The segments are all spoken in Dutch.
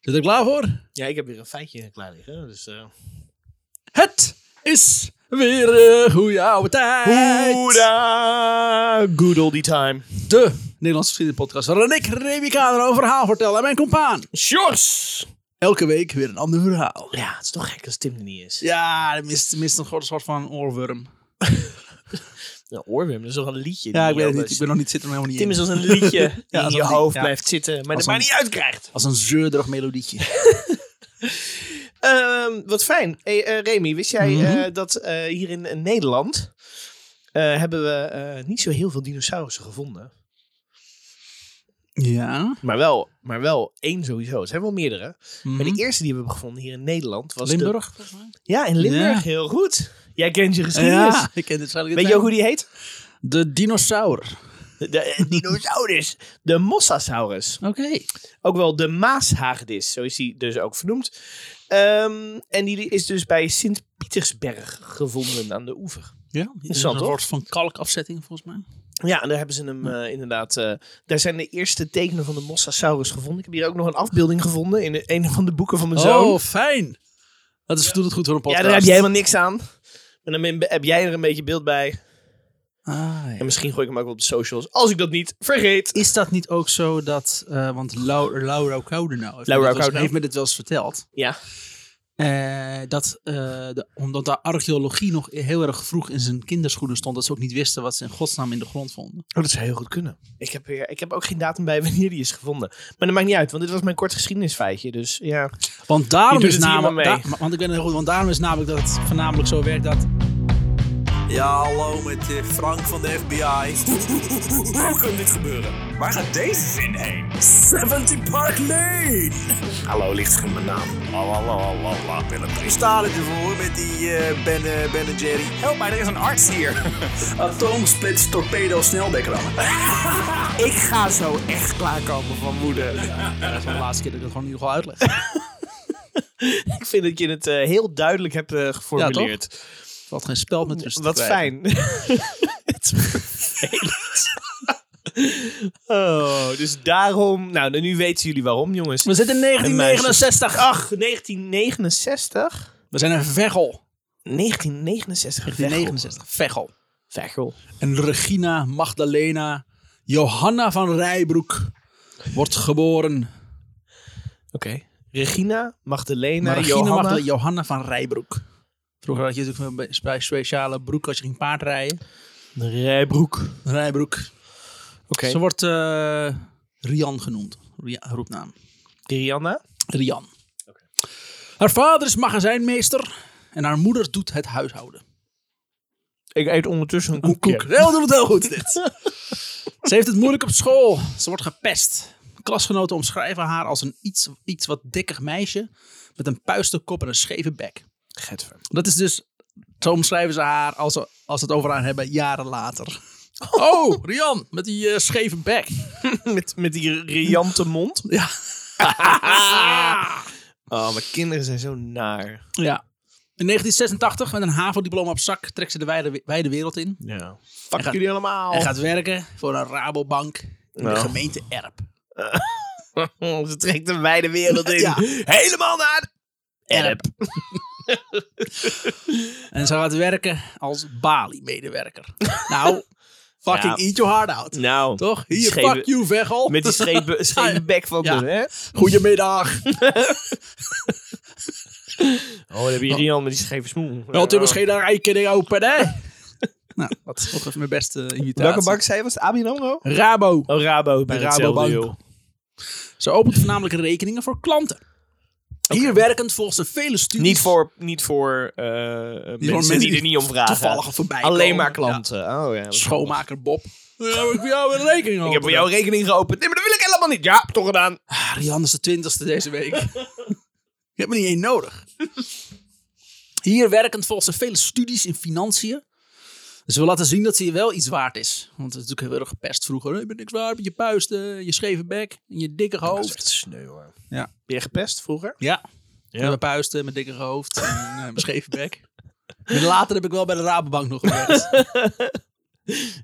Zit er klaar voor? Ja, ik heb weer een feitje klaar liggen. Dus, eh Het is weer een goede oude tijd. Hoera! Good oldie time. De Nederlandse geschiedenispodcast waarin ik, Remy Kader, een verhaal vertel aan mijn compaan. Sjors! Elke week weer een ander verhaal. Ja, het is toch gek als Tim er niet is. Ja, dat mist, mist nog een soort van oorworm. Nou, Oorwim, dat is toch een liedje? Ja, ik weet het die je niet. Ik altijd- ben nog niet zitten, maar helemaal Tim niet is in. als een liedje die in als je een lied- hoofd ja. blijft zitten, maar Als er maar een- niet uitkrijgt. Als een zeurderig melodietje. Ehm, wat fijn. Hey, eh, Remy, wist jij Mhm. eh, dat eh, hier in eh, Nederland eh, hebben we eh, niet zo heel veel dinosaurussen gevonden? ja. Maar wel, maar wel één sowieso. Er zijn wel meerdere. Maar Mhm. de eerste die we hebben gevonden hier in Nederland was de- Limburg? volgens mij. Ja, in Limburg. Ja. Heel goed. Jij kent je geschiedenis. Ja, ik ken dit waarschijnlijk Weet je ook hoe die heet? De dinosaur. De, de dinosaurus. De mossasaurus. Oké. Ook wel de maashagedis. Zo is die dus ook vernoemd. Ehm, en die is dus bij Sint-Pietersberg gevonden aan de oever. Ja, dit is Interessant, een toch? soort van kalkafzetting volgens mij. Ja, en daar hebben ze hem eh, inderdaad... eh, daar zijn de eerste tekenen van de mossasaurus gevonden. Ik heb hier ook nog een afbeelding gevonden in een van de boeken van mijn zoon. Oh, fijn. Dat is doet het goed voor een podcast. Ja, daar heb je helemaal niks aan. En dan ben- heb jij er een beetje beeld bij. Ah, En ja. misschien gooi ik hem ook wel op de socials. Als ik dat niet vergeet. Is dat niet ook zo dat, eh, want Lau- Laura Koudenau heeft, me Laura dit wel eens- Koudenau. heeft me dit wel eens verteld, Ja. eh, dat eh, de- omdat de archeologie nog heel erg vroeg in zijn kinderschoenen stond, dat ze ook niet wisten wat ze in godsnaam in de grond vonden. Oh, dat zou heel goed kunnen. Ik heb, weer, ik heb ook geen datum bij wanneer die is gevonden. Maar dat maakt niet uit, want dit was mijn kort geschiedenisfeitje. Dus ja. Want daarom Je doet is het hier namelijk, maar mee. da- maar- want ik weet het heel goed, want daarom is namelijk dat het voornamelijk zo werkt dat. Ja, hallo met eh, Frank van de FBI. Hoe kan dit gebeuren? Waar gaat deze zin heen? 70 Park Lane! Hallo, ligt in mijn naam. Lalalala, Ik sta er voor met die eh, ben, eh, ben en Jerry. Help mij, er is een arts hier. Atoomsplits torpedo sneldekramen. Ik ga zo echt klaarkomen van moeder. Dat is wel de laatste keer dat ik dat gewoon in ieder geval uitleg. ik vind dat je het eh, heel duidelijk hebt eh, geformuleerd. Dus Wat geen spel met rust. te Wat krijgen. fijn. het is vervelend. oh, dus daarom... Nou, nu weten jullie waarom, jongens. We zitten in 1969. Ach, 1969? We zijn een veggel. 1969. 1969, veggel. Vechel. En Regina Magdalena Johanna van Rijbroek wordt geboren. Oké. Regina, Magdalena, Maar Regina Johanna. Magdalena Johanna van Rijbroek. Vroeger had je natuurlijk een spe- speciale broek als je ging paardrijden. Rijbroek. Oké. Rijbroek. Ze wordt eh, Rian genoemd. Ria- roepnaam. Rihanna. Rian. Haar vader is magazijnmeester en haar moeder doet het huishouden. Ik eet ondertussen een Een koekje. koek. Heel, doet het heel goed dit. Ze heeft het moeilijk op school. Ze wordt gepest. Klasgenoten omschrijven haar als een iets, iets wat dikker meisje met een puisterkop en een scheve bek. Getver. Dat is dus, zo omschrijven ze haar als ze, als ze het over haar hebben jaren later. Oh, Rian, met die eh, scheve bek. met, met die riante mond. Ja. Oh, maar kinderen zijn zo naar. ja. In 1986, met een HAVO-diploma op zak, trekt ze de wijde, wijde wereld in. Ja. En Fuck gaat- jullie allemaal. En gaat werken voor een Rabobank in Nou. de gemeente Erp. Ze trekt de wijde wereld in. Ja. Helemaal naar de erp. En ze gaat werken als Bali-medewerker. nou, fucking Ja. eat your heart out. Nou. Toch? Hier, Scheve- fuck you, Veghel. Met die schepen, schepen bek van Ja. de, hè? Goedemiddag. Oh, dan heb je Rian met die scheve smoel. Oh. Wilt u misschien een rekening openen, hè? nou, dat is nog even mijn beste imitatie. Welke bank zei je? Was het ABN AMRO? Rabo. Oh, Rabo. Bij Bij Rabobank. Rabobank. Ze opent voornamelijk rekeningen voor klanten. Hier werkend volgens de vele studies. Niet voor, niet voor eh, mensen, mensen die die er niet om vragen. toevallig al voorbij Alleen komen. maar klanten. Oh, ja, dat is Schoonmaker Bob. Ja, heb ik voor jou een rekening wel- Ik heb voor jou een rekening geopend. Nee, maar dat wil ik helemaal niet. Ja, toch gedaan. Rian is de twintigste deze week. Je hebt me niet één nodig. Hier werkend volgens de vele studies in financiën. Dus we laten zien dat ze je wel iets waard is. Want het is natuurlijk heel erg gepest vroeger. Je bent niks waard met je puisten, je scheve bek en je dikke hoofd. sneu hoor. Ja. Ben je gepest vroeger? Ja, met mijn puisten, mijn dikke hoofd en eh, mijn scheve bek. En later heb ik wel bij de Rabobank nog gewerkt.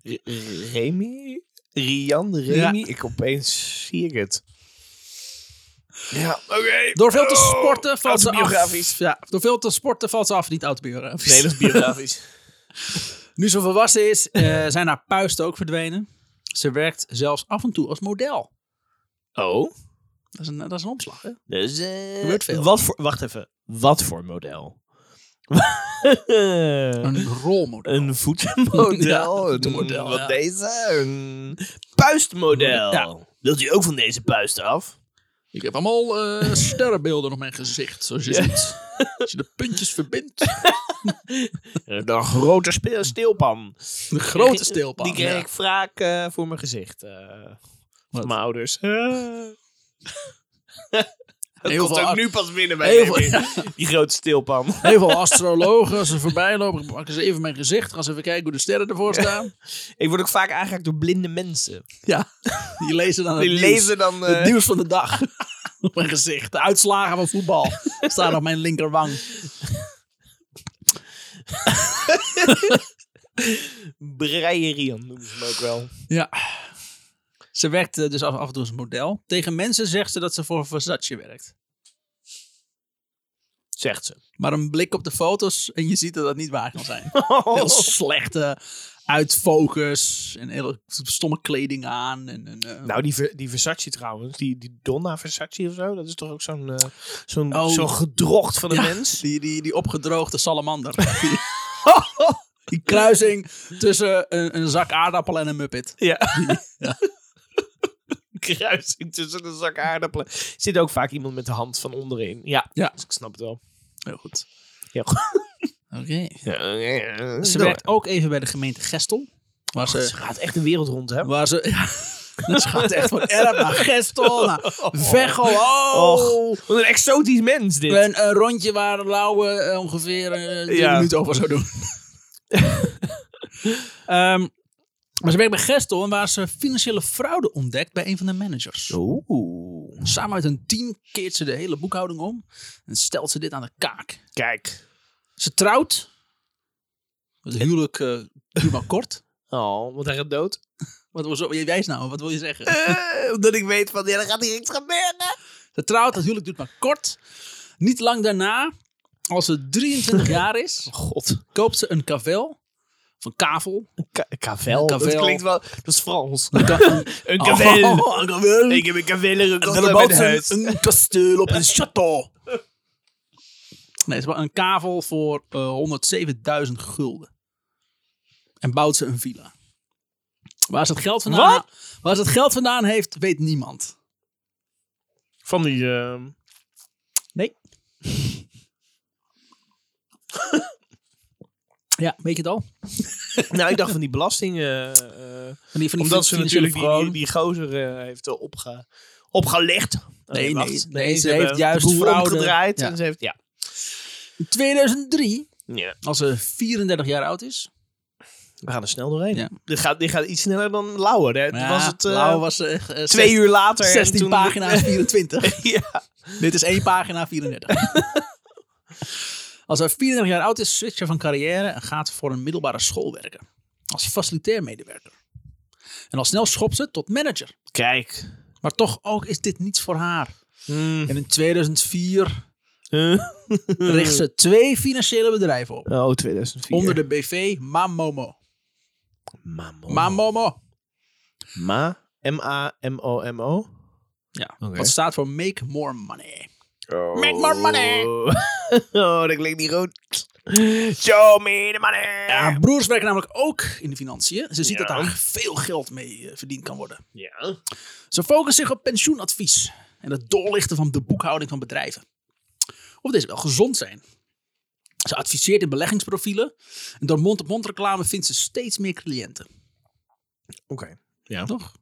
R- Remy? Rian, Remy? Ja. Ik opeens zie ik het. Ja, oké. Oh. Door veel te sporten valt ze af. Autobiografisch. Ja, door veel te sporten valt ze af, niet autobiografisch. Nee, dat is biografisch. Nu ze volwassen is, eh, zijn haar puisten ook verdwenen. Ze werkt zelfs af en toe als model. oh. Dat is een, dat is een omslag, hè? Dus, Gebeurt veel. Wat voor, wacht even. Wat voor model? Een rolmodel. Een voetenmodel. Ja, een een model, Wat ja. deze? Een puistmodel. Ja. Wilt u ook van deze puist af? Ik heb allemaal eh, sterrenbeelden op mijn gezicht, zoals je ziet. Als je de puntjes verbindt. Een grote spe- steelpan. De Eh, grote steelpan. Die kreeg ja. ik vaak eh, voor mijn gezicht. eh, Wat? van mijn ouders. Dat Heel komt veel ook ar- nu pas binnen bij Heel me, Die grote steelpan. Heel veel astrologen, als ze voorbij lopen, pakken ze even mijn gezicht. Gaan ze even kijken hoe de sterren ervoor staan. Ik word ook vaak aangeraakt door blinde mensen. Ja, die lezen dan Oh, het Die nieuws. lezen dan... eh, Het nieuws van de dag. op mijn gezicht. De uitslagen van voetbal staan op mijn linkerwang. Breierie, noemen ze hem ook wel. Ja. Ze werkt eh, dus af, af en toe als model. Tegen mensen zegt ze dat ze voor Versace werkt. Zegt ze. Maar een blik op de foto's en je ziet dat dat niet waar kan zijn. Oh. Heel slechte uitfocus en hele stomme kleding aan. En, en, eh, Nou, die, Ver- die Versace trouwens, die, die Donna Versace of zo, dat is toch ook zo'n eh, zo'n Oh. zo'n gedrocht van een ja, mens? Die, die, die opgedroogde salamander. Die- die kruising tussen een, een zak aardappel en een muppet. Ja. Kruising tussen een zak aardappelen. Zit ook vaak iemand met de hand van onderin. Ja, Ja. Dus ik snap het wel. Heel goed. Ja. Oké. Ze Ze, werkt ook even bij de gemeente Gestel. Waar ze Oh, ze gaat echt de wereld rond, hè? Waar ze... Ja, ze gaat echt van Erp naar Gestel, naar Veghel. Oh. Och, wat een exotisch mens dit. Een, een rondje waar Lauwe eh, ongeveer eh, drie Ja. minuten over zou doen. Ehm, maar ze werkt bij Gestel en waar ze financiële fraude ontdekt bij een van de managers. Oeh. Samen met hun team keert ze de hele boekhouding om en stelt ze dit aan de kaak. Kijk. Ze trouwt. Het huwelijk eh duurt maar kort. Oh, want hij gaat dood. Wat wil zo, jij wijst nou, wat wil je zeggen? Eh, omdat ik weet van, ja, dan gaat hier iets gebeuren. Ze trouwt, het huwelijk duurt maar kort. Niet lang daarna, als ze 23 jaar is, God. koopt ze een kavel. Of een kavel. Ka- kavel. Dat Kavel. klinkt wel... Dat is Frans. Een, ka- een- Een Oh, een kavel. heb een kavel en een En dan bouwt ze een, een kasteel op een château. Nee, ze bouwt een kavel voor eh, 107.000 gulden. En bouwt ze een villa. Waar ze het geld vandaan, waar ze het geld vandaan heeft, weet niemand. Van die... ehm, Ja, weet je het al? nou, ik dacht van die belasting... eh, eh, Van die, van die omdat ze financiële natuurlijk die, fraude. die, die gozer eh, heeft eh, opge, opgelegd. Oh, Nee, nee, wacht. nee, ze hebben heeft juist de boel fraude. omgedraaid. Ja. En ze heeft... Ja. In 2003 ja. Als ze 34 jaar oud is. We gaan er snel doorheen. Ja. Dit, gaat, dit gaat iets sneller dan Lauwe. Hè? Ja, was het eh, Lau was echt, eh, twee uur later. en 16 toen- pagina's 24. ja. Dit is één pagina 34. Als ze 34 jaar oud is, switcht ze van carrière en gaat voor een middelbare school werken. Als facilitair medewerker. En al snel schopt ze tot manager. Kijk. Maar toch ook is dit niets voor haar. Hmm. En in 2004 Eh. richt ze twee financiële bedrijven op. Oh, 2004. Onder de BV Mamomo. Mamo. Mamomo. Ma. M-A-M-O-M-O. Ja, Oké. dat staat voor Make More Money. Oh. Make more money. oh, dat klinkt niet goed. Show me the money. Ja, haar broers werken namelijk ook in de financiën. Ze ziet Ja. dat daar veel geld mee eh, verdiend kan worden. Ja. Ze focust zich op pensioenadvies en het doorlichten van de boekhouding van bedrijven. Of deze wel gezond zijn. Ze adviseert in beleggingsprofielen en door mond-op-mond reclame vindt ze steeds meer cliënten. Oké. Ja. Toch?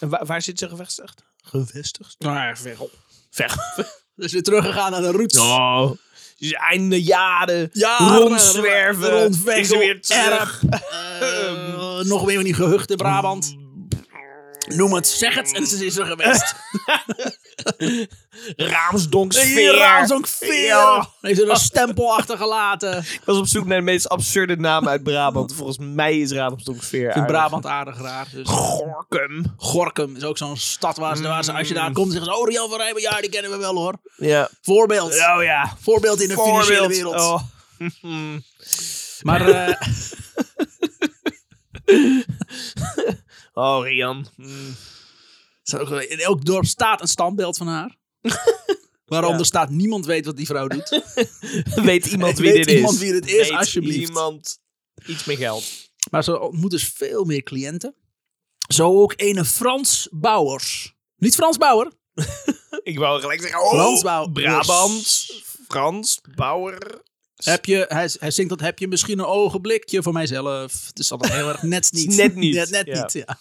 En waar, waar zit ze gevestigd? Gevestigd? Nou ja, verrel. Ver. Dus weer teruggegaan naar de roots. Oh. Dus einde jaren. Ja, rondzwerven. Rondweg. Is ze weer terug. erg. Eh, nog meer van die gehuchten Brabant. Noem het, zeg het en ze is er geweest. Raamsdonksfeer. Hier, zo'n veer. Ja. Heeft er een stempel achtergelaten. Ik was op zoek naar de meest absurde naam uit Brabant. Volgens mij is Raamsdonksfeer In aardig. Brabant aardig raar. Dus. Gorkum. Gorkum is ook zo'n stad waar ze, waar ze- als je Mm. daar komt, zeggen ze, oh, Rian van Rijmen, ja, die kennen we wel hoor. Ja. Voorbeeld. Oh ja. Voorbeeld in de financiële Voorbeeld. wereld. Oh. Maar eh, Oh, Rian. Mm. ze ook- in elk dorp staat een standbeeld van haar. Waarom Ja. er staat, niemand weet wat die vrouw doet. Weet iemand wie Weet dit iemand is? wie dit is, Weet alsjeblieft. iemand iets meer geld? Maar ze ontmoet dus veel meer cliënten. Zo ook ene Frans Bouwers. Niet Frans Bauer. Ik wou gelijk zeggen, oh, Frans Bauer. Brabant, Frans, Bauer. Heb je, hij, hij zingt dat, heb je misschien een ogenblikje voor mijzelf? Het is altijd heel erg net niet. Net niet, Net, net ja. niet, ja.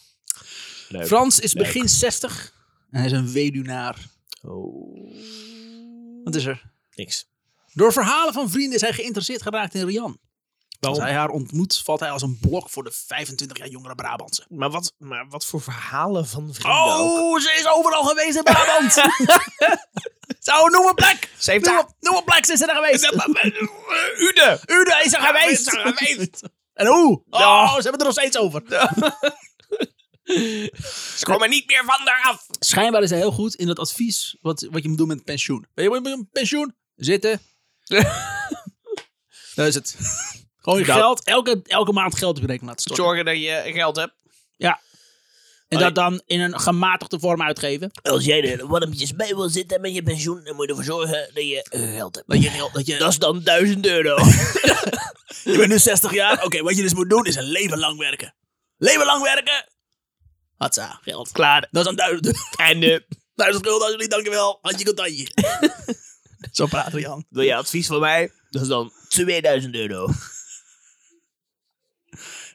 Leuk. Frans is Leuk. begin 60 en hij is een weduwnaar. Oh, Wat is er? niks. Door verhalen van vrienden is hij geïnteresseerd geraakt in Rian. Als hij haar ontmoet, valt hij als een blok voor de 25 jaar jongere Brabantse. Maar wat, maar wat voor verhalen van vrienden ook? Oh, ze is overal geweest in Brabant. Zo, noem een plek. Ze heeft Noem daar... op, noem op plek, ze is er geweest. eh, Ude! Ude is er geweest. Is er geweest. En hoe? Oh, Ja. ze hebben het er nog steeds over. Ze komen niet meer van daar af. Schijnbaar is hij heel goed in het advies wat, wat je moet doen met pensioen. Weet je wat je moet doen met pensioen? Zitten. dat is het. Gewoon je Dat. geld, elke, elke maand geld op je rekening laten storten. Zorgen dat je geld hebt. En dat dan in een gematigde vorm uitgeven. Als jij er warmpjes bij wil zitten met je pensioen, dan moet je ervoor zorgen dat je eh, geld hebt. Dat je geld, dat je... Dat is dan 1000 euro. je bent nu 60 jaar. Oké, wat je dus moet doen is een leven lang werken. Leven lang werken! Hatsa, geld. Klaar. Dat is dan duizend, En eh, duizend gulden alsjeblieft, dankjewel. Handje contantje. Zo praat Jan. wil je advies van mij? Dat is dan 2000 euro.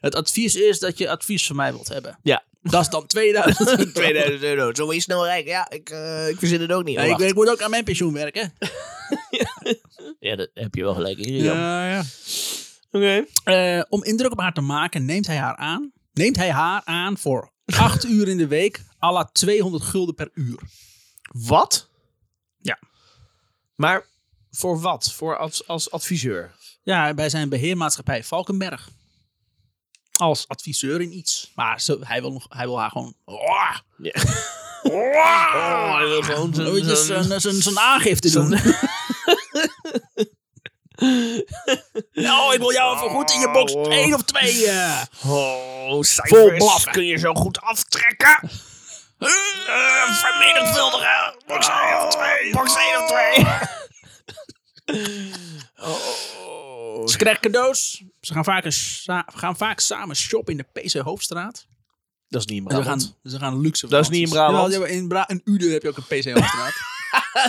Het advies is dat je advies van mij wilt hebben. Ja. Dat is dan 2000. 2000 euro. Zo word je snel rijk. Ja, ik, eh, ik verzin het ook niet. Ja, Oh, ik, wacht. ik moet ook aan mijn pensioen werken. ja dat heb je wel gelijk in. Rian. Ja, ja. Oké. Eh, om indruk op haar te maken, neemt hij haar aan. Neemt hij haar aan voor 8 uur in de week, à la 200 gulden per uur. Wat? Ja. Maar voor wat? Voor als, als adviseur? Ja, bij zijn beheermaatschappij Valkenberg. Als adviseur in iets. Maar ze, hij, wil, nog- hij wil haar gewoon. Oh, Oh, hij wil gewoon zijn- weet je, zijn- zijn- zijn- zijn aangifte doen. nou, ik wil jou even goed in je box Oh. 1 of eh. 2. Oh, Vol cijfers blaf. kun je zo goed aftrekken. Eh, vermenigvuldigen. Box 1 of 2. Box 1 of 2. Ze krijgen cadeaus. Ze gaan vaak, een sa- gaan vaak samen shoppen in de PC Hoofdstraat. Dat is niet En in Ze gaan, ze gaan luxe Dat is niet in vakanties. Brabant. Jawel, in, Bra in Uden heb je ook een PC Hoofdstraat.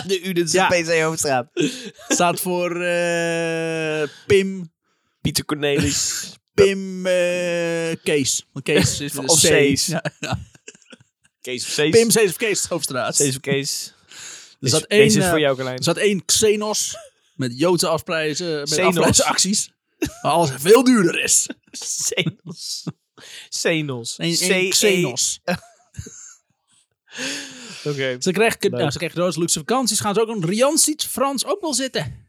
De Udens Ja. PC Hoofdstraat. Staat voor eh, Pim, Pieter Cornelis. Pim eh, Kees. Want Kees is met een Of C. Cees. Ja. Kees of Cees. Pim Cees of Kees Hoofdstraat. Cees of Kees. Er Deze, zat één, deze is eh, voor jou, Carlijn. Er zat één Xenos met Joodse afprijzen, met Xenos. afprijsacties. Maar alles veel duurder is. Zenos. Zenos. E- Eén, C-E- één Xenos. Oké. Ze krijgt Leuk. nou, ze krijgt cadeaus, luxe vakanties. Gaan ze ook een Rian ziet Frans ook wel zitten.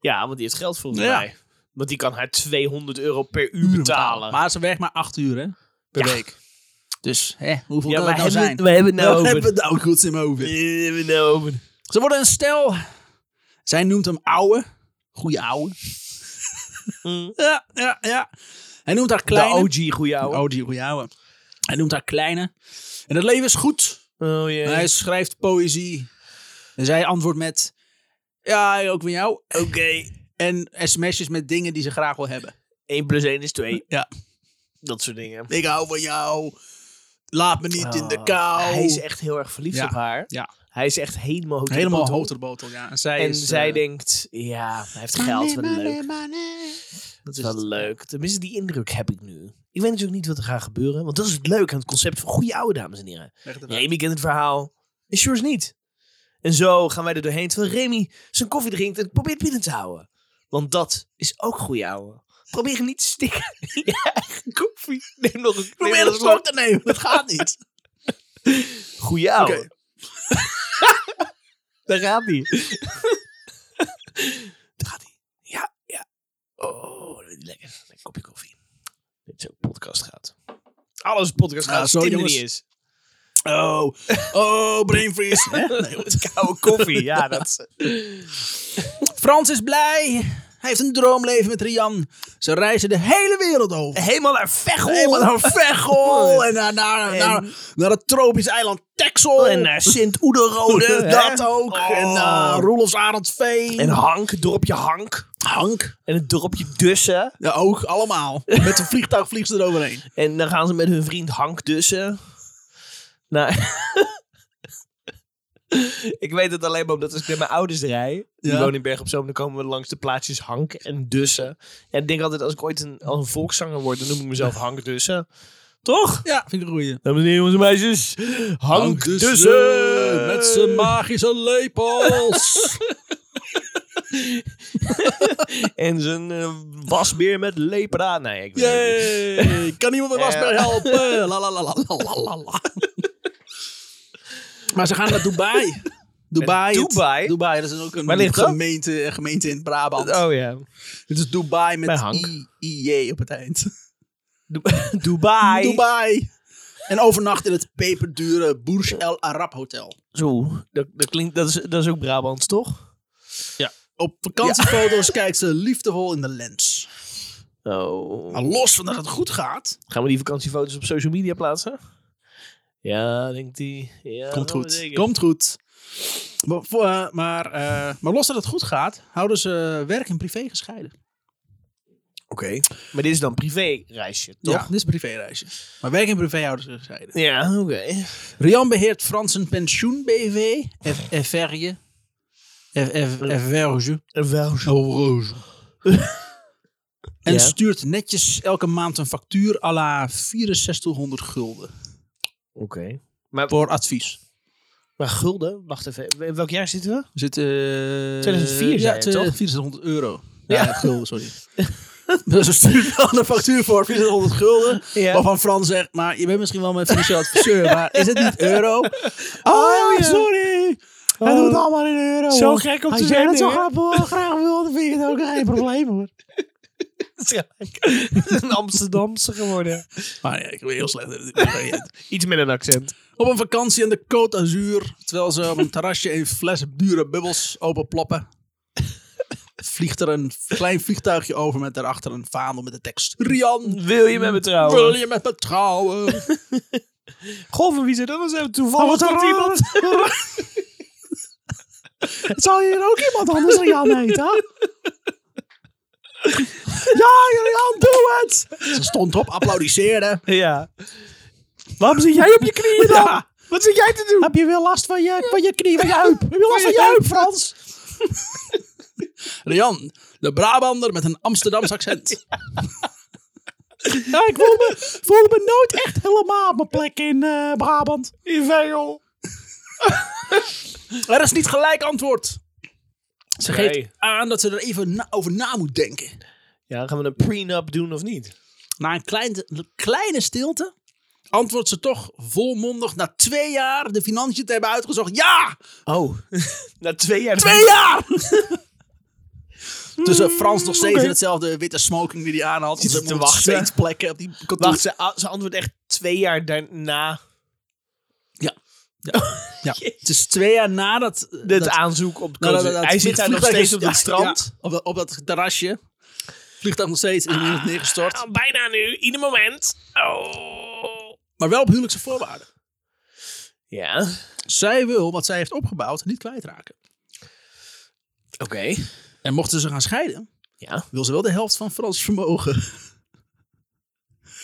Ja, want die heeft geld volgens Ja. mij. Want die kan haar 200 euro per uur betalen. Maar ze werkt maar acht uur hè, per Ja. week. Dus hè, hoeveel Ja, kan maar het nou zijn? we hebben het nou Wat over. hebben we nou goed in mijn hoofd? We hebben het nou over. Ze worden een stel. Zij noemt hem ouwe. Goeie ouwe. Mm. Ja, ja, ja. Hij noemt haar De kleine. OG, goeie ouwe. Oh, die goeie ouwe. Hij noemt haar kleine. En het leven is goed. Oh jee. Hij schrijft poëzie. En zij antwoordt met... Ja, ook van jou. Oké. En sms'jes met dingen die ze graag wil hebben. 1 plus 1 is 2. Ja. Dat soort dingen. Ik hou van jou. Laat me niet in de kou. Oh, Hij is echt heel erg verliefd Ja. op haar. Ja. Hij is echt helemaal hotel. Helemaal hoterbotel, ja. En zij, En is, zij eh, denkt, ja, hij heeft geld. Wat leuk. dat is Wat het. leuk. Tenminste, die indruk heb ik nu. Ik weet natuurlijk niet wat er gaat gebeuren. Want dat is het leuke aan het concept van goede oude dames en heren. Leg het eruit. Remy kent het verhaal. En Sjors niet. En zo gaan wij er doorheen. Terwijl Remy zijn koffie drinkt en probeert binnen te houden. Want dat is ook goede ouwe. Probeer niet te stikken in je eigen koffie. Neem nog een, neem nog Probeer een een slok te nemen. Dat gaat niet. Goeie ouwe. Oké. Daar gaat die. Daar gaat die. Ja, ja. Oh, dat is lekker. Een kopje koffie. Dit is ook podcast gaat. Alles podcast gaat. Ah, als sorry, Tinder jongens. niet is. Oh, oh, brain freeze. Hè? Nee, Het is koude koffie. Ja, dat is... Frans is blij. Hij heeft een droomleven met Rian. Ze reizen de hele wereld over. Helemaal naar Veghel. Oh, Helemaal naar Veghel en naar, naar, En- naar, naar het tropisch eiland Texel. En naar Sint-Oederode. Oede, Oh. hè? dat ook. Oh. En naar Roelofs Arendveen. En Hank, het dorpje Hank. Hank. En het dorpje Dussen. Ja, ook. Allemaal. Met een vliegtuig vliegen ze eroverheen. En dan gaan ze met hun vriend Hank Dussen. Nou, ik weet het alleen maar omdat als ik met mijn ouders rij, die Ja. wonen in Berg op Zoom, dan komen we langs de plaatsjes Hank en Dussen. En ik denk altijd, als ik ooit een, als een volkszanger word, dan noem ik mezelf Hank Dussen. Toch? Ja, vind ik een goeie. Dames en heren, jongens en meisjes. Hank, dus Dussen. Met zijn magische lepels. En zijn eh, wasbeer met lepra. Nee, ik weet het niet. Yay. Kan iemand me Ja. wasbeer helpen? La la la la la la la. Maar ze gaan naar Dubai. Dubai. het- Dubai? Dubai, dat is ook Waar een ligt dat? gemeente, een gemeente in Brabant. Oh ja. Het is Dubai Bij met Hank. I- IJ op het eind. Du- Dubai. Dubai. En overnacht in het peperdure Burj El Arab Hotel. Zo, dat, dat klinkt, dat is, dat is ook Brabants, toch? Op vakantiefoto's kijkt ze liefdevol in de lens. Oh. Maar los van dat het goed gaat, Gaan we die vakantiefoto's op social media plaatsen? Ja, denkt hij. Ja, Komt dat goed. weet ik. Komt goed. Maar, voor- eh, maar, eh, maar los dat het goed gaat, houden ze werk en privé gescheiden. Oké. Maar dit is dan privéreisje, Toch? toch? Dit is een privéreisje. Maar werk en privé houden ze gescheiden. Ja, oké. Rian beheert Fransen Pensioen BV. F- Everje. F- F- Everge. Wel zo. Overge. En Ja. stuurt netjes elke maand een factuur à la 6400 gulden. Oké. Maar, Voor advies. maar gulden, wacht even. In welk jaar zitten we? We zitten... eh, 2004 ja, zei je, toch? 2400 euro. Ja, gulden, sorry. dus ze stuurt dan een factuur voor 400 gulden. Ja. Waarvan Frans zegt, maar je bent misschien wel mijn financieel adviseur, maar is het niet euro? Oh, ja. Oh. sorry. Hij doet het allemaal in euro. Zo hoor. gek om Als te jij zijn, dat zo hè? graag, graag wil, dan vind ik het ook geen probleem hoor. Het is een Amsterdamse geworden. Maar ja, ik ben heel slecht. in het- Iets met een accent. Op een vakantie in de Côte d'Azur, terwijl ze op een terrasje een fles dure bubbels openploppen, vliegt er een klein vliegtuigje over met daarachter een vaandel met de tekst Rian, Wil je met me trouwen? wil je met me trouwen? Goh, van wie ze dan zijn? Toevallig Oh, wat komt raar. iemand. Zou je hier ook iemand anders Rian heten? Ja, Rian, doe het! Ze stond op, applaudisseerde. Ja. Waarom zit jij op je knieën dan? Ja. Wat zit jij te doen? Heb je weer last van je, van je knie, van je heup? Heb je last van je je heup, Frans? Rian, de Brabander met een Amsterdams accent. Ja, ik voel me, voel me nooit echt helemaal op mijn plek in eh, Brabant. In Veghel. Er is niet gelijk antwoord. Ze Nee. geeft aan dat ze er even na- over na moet denken. Ja, gaan we een prenup doen of niet? Na een klein, kleine stilte antwoordt ze toch volmondig na twee jaar de financiën te hebben uitgezocht. Ja! Oh. Na twee jaar. Twee jaar! Tussen Frans nog steeds in hetzelfde witte smoking die hij aan had. Zit Ze te moet wachten. steeds plekken op die kantoor. Wacht, ze, ze antwoordt echt twee jaar daarna Ja. Het is twee jaar nadat... eh, het dat- aanzoek op nadat- Kozen. dat Hij zit daar nog vliegtuig steeds is- op dat ja, strand. ja, op, dat- op dat terrasje. Vliegtuig nog steeds is niet neergestort. Ah, bijna nu, ieder moment. Oh. Maar wel op huwelijkse voorwaarden. Ja, oké. Zij wil wat zij heeft opgebouwd niet kwijtraken. En mochten ze gaan scheiden, Ja. wil ze wel de helft van Frans vermogen.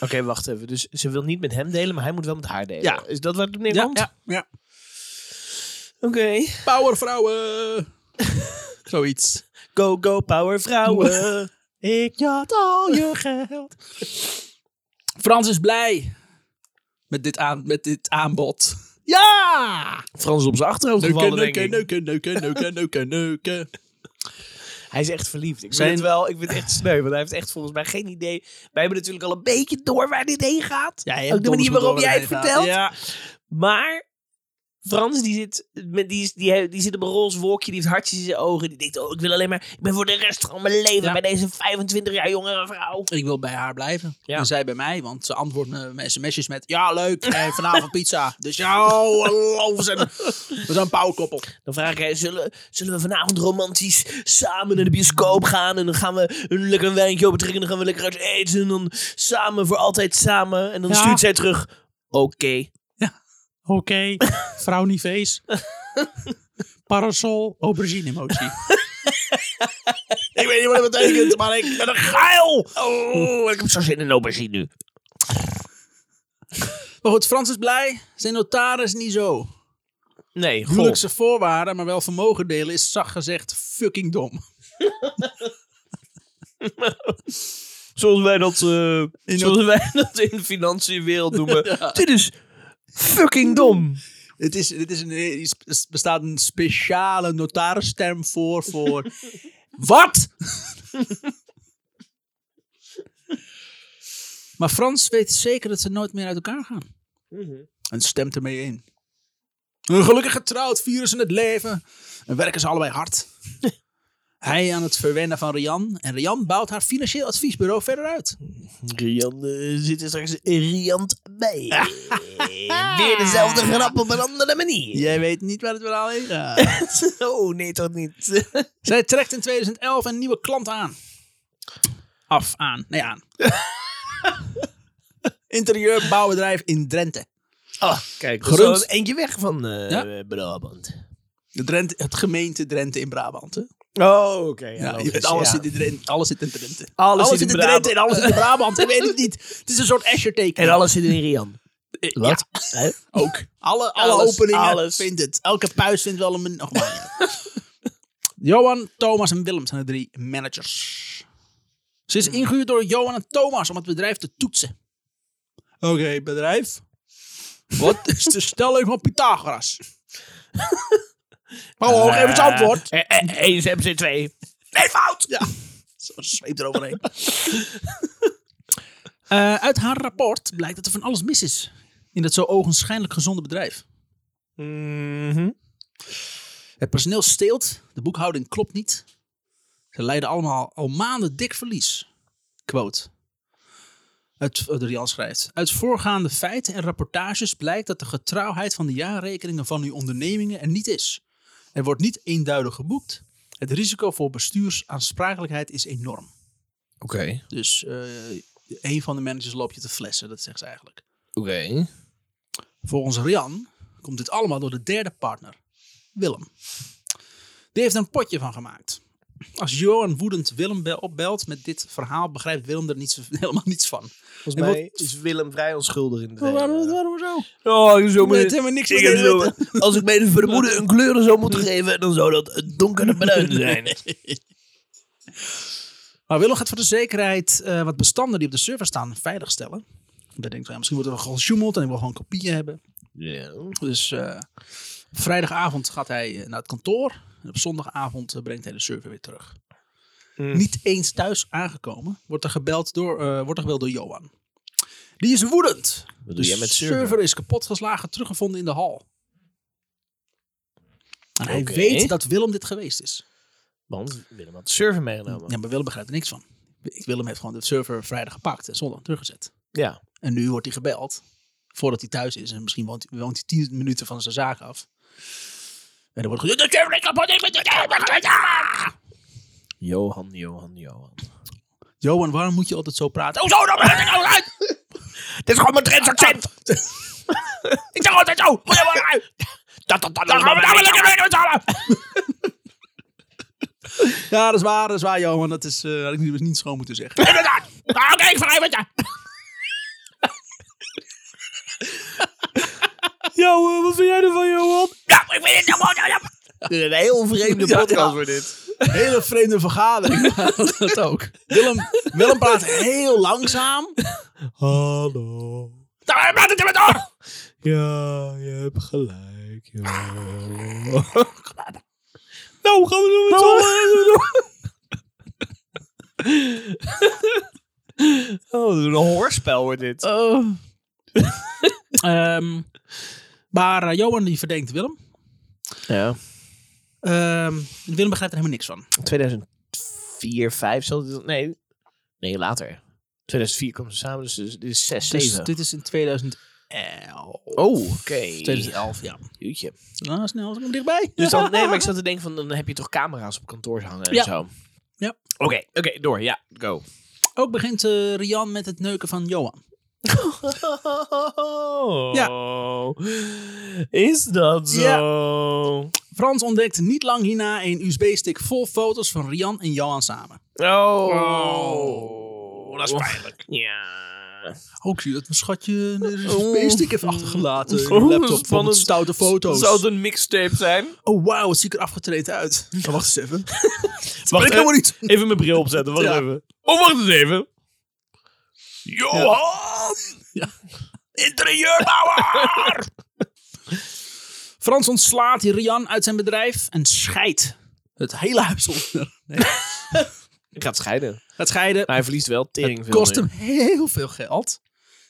Oké, wacht even. Dus ze wil niet met hem delen, maar hij moet wel met haar delen. Ja. Is dat waar het op neerkomt? ja. Oké. Powervrouwen. Zoiets. Go, go, power vrouwen. Ik jat al je geld. Frans is blij met dit, aan, met dit aanbod. Ja! Frans is op zijn achterhoofd Neuken, gevallen, denk neuken, ik. neuken, neuken, neuken, neuken, neuken. Hij is echt verliefd. Ik Zijn- vind het wel, ik vind het echt sneu, want hij heeft echt volgens mij geen idee. Wij hebben natuurlijk al een beetje door waar dit heen gaat. Ja, je hebt Ook de manier donders waarop goed jij het door waar vertelt. het heen gaat. Maar Frans, die zit, met, die, is- die, he- die zit op een roze wolkje, die heeft hartjes in zijn ogen. Die denkt, oh, ik wil alleen maar, ik ben voor de rest van mijn leven Ja. bij deze 25 jaar jongere vrouw. Ik wil bij haar blijven. Ja. En zij bij mij, want ze antwoordt me mijn sms'jes met... Ja, leuk. En vanavond pizza. Dus ja, oh, hallo, we zijn, we zijn een powerkoppel. Dan vraag ik, hè, zullen, zullen we vanavond romantisch samen naar de bioscoop gaan? En dan gaan we een lekker een wijntje op drinken en dan gaan we lekker uit eten. En dan samen, voor altijd samen. En dan Ja. stuurt zij terug, oké. Oké, vrouw niet feest. Parasol, aubergine emotie. Ik weet niet wat het betekent, maar ik ben een geil. Oh, ik heb zo zin in aubergine nu. Maar goed, Oh, Frans is blij. Zijn notaris niet zo. Nee, goh. Huwelijkse voorwaarden, maar wel vermogen delen is zacht gezegd fucking dom. Zoals wij dat, eh, In zoals wij dat in de financiële wereld noemen. Dit is fucking dom. Het, is, het, is een, er bestaat een speciale notaristerm voor. voor wat? maar Frans weet zeker dat ze nooit meer uit elkaar gaan. En stemt ermee in. Een gelukkig getrouwd, vieren ze het leven. En werken ze allebei hard. Hij aan het verwennen van Rian. En Rian bouwt haar financieel adviesbureau verder uit. Rian eh, zit er straks riant bij. Weer dezelfde grap op een andere manier. Jij weet niet waar het verhaal heen gaat. Oh, nee toch niet. Zij trekt in 2011 een nieuwe klant aan. Af, aan, nee aan. Interieurbouwbedrijf in Drenthe. Oh, kijk, Grunt. er is eentje weg van eh Ja. Brabant. De Drenthe. Het gemeente Drenthe in Brabant. Hè? Oh, oké. Ja, je weet, alles, zit in Drenthe, alles zit in Drenthe. Alles Alles zit zit in in Drenthe en Brabant. alles zit in Brabant. Ik weet het niet. Het is een soort Escher-teken. En alles zit in Rian. Eh, Wat? Ook. Alle, alle Alles, openingen alles. vindt het. Elke puis vindt wel een... min- Och, maar ja. Johan, Thomas en Willem zijn de drie managers. Ze is ingehuurd door Johan en Thomas om het bedrijf te toetsen. Oké, bedrijf. Wat is de stelling van Pythagoras? Hallo, geef Eh, eens antwoord. 1 is MC2. Nee, fout! Ja, zo'n zweep eroverheen. Eh, uit haar rapport blijkt dat er van alles mis is. In dat zo ogenschijnlijk gezonde bedrijf. Mhm. Het personeel steelt, de boekhouding klopt niet. Ze leiden allemaal al maanden dik verlies. Quote. Uit, eh, de Rian schrijft. Uit voorgaande feiten en rapportages blijkt dat de getrouwheid van de jaarrekeningen van uw ondernemingen er niet is. Er wordt niet eenduidig geboekt. Het risico voor bestuursaansprakelijkheid is enorm. Oké, Dus eh een van de managers loopt je te flessen, dat zegt ze eigenlijk. oké. Volgens Rian komt dit allemaal door de derde partner, Willem. Die heeft er een potje van gemaakt. Als Johan woedend Willem be- opbelt met dit verhaal, begrijpt Willem er niet zo, helemaal niets van. Volgens mij is Willem vrij onschuldig in de waarom zo? Oh, ik zo Het heeft helemaal niks meer te weten. Als ik mijn vermoeden een kleur zou moeten geven, dan zou dat het donkere bruin zijn. Maar Willem gaat voor de zekerheid eh, wat bestanden die op de server staan veiligstellen. Want hij denkt, van, ja, misschien wordt er wel gesjoemeld en hij wil gewoon kopieën hebben. Ja. Dus eh, op vrijdagavond gaat hij eh, naar het kantoor. En op zondagavond eh, brengt hij de server weer terug. Mm. Niet eens thuis aangekomen, wordt er, gebeld door, eh, wordt er gebeld door Johan. Die is woedend. Wat de server? is kapotgeslagen, teruggevonden in de hal. En hij Oké. weet dat Willem dit geweest is. Want Willem had de server meegenomen. Ja, maar Willem begrijpt er niks van. Willem heeft gewoon de server vrijdag gepakt en zondag teruggezet. Ja. En nu wordt hij gebeld. Voordat hij thuis is. En misschien woont, woont hij tien minuten van zijn zaak af. En dan wordt gezegd... "De server is kapot, ik ben het helemaal kwijt." Ah! Johan, Johan, Johan. Johan, waarom moet je altijd zo praten? Oh, zo, dan ben ik al uit! Dit is gewoon mijn Drents accent! ik zeg altijd zo! Dat, dat, dat, Dan gaan we daar weer lekker mee betalen. Ja, dat is waar, dat is waar, Johan. Dat is, eh, had ik niet, niet schoon moeten zeggen. Inderdaad. Maar Nou, Oké, ik vergeef het je. Yo, wat vind jij ervan, Johan? Ja, ik weet het nou gewoon. ja, ja. Dit is een heel vreemde Ja, podcast ja. voor dit. Hele vreemde vergadering. dat ook. Willem, Willem praat heel langzaam. Hallo. Dan praat het er maar door. Ja, je hebt gelijk, joh. nou, gaan we doen met z'n Oh, allen. Oh, een hoorspel wordt dit. Oh. Ehm, Maar eh, Johan die verdenkt Willem. Ja. Ehm, Willem begrijpt er helemaal niks van. 2004, 5 zal dit... Nee. Nee, later. 2004 komen ze samen, dus dit is 6, Dus 7. dit is in 2011. Oh, oké. 2011, ja. Jeetje. Nou, snel, ik kom dichtbij. Dus dan, nee, maar ik zat te denken van, dan heb je toch camera's op kantoor hangen en Ja. zo. Ja. Oké, oké, door. Ja, go. Ook begint eh, Rian met het neuken van Johan. Ja. Is dat zo? Ja. Frans ontdekt niet lang hierna een USB-stick vol foto's van Rian en Johan samen. Oh. dat is pijnlijk. Ja. Ook zie je dat mijn schatje een Oh. USB-stick heeft achtergelaten in de Oh, eh, laptop van spannend. wat stoute foto's. Zou het een mixtape zijn? Oh wauw, het ziet er afgetreden uit. Maar Oh, wacht eens even. Wacht, Ik helemaal niet. Even mijn bril opzetten, wacht Ja. even. Oh, wacht eens even. Johan! Ja. Interieurbouwer! Frans ontslaat Rian uit zijn bedrijf en scheidt het hele huis onder. Nee, Ik ga het scheiden. gaat scheiden. Maar Nou, hij verliest wel tering veel kost meer. hem heel veel geld.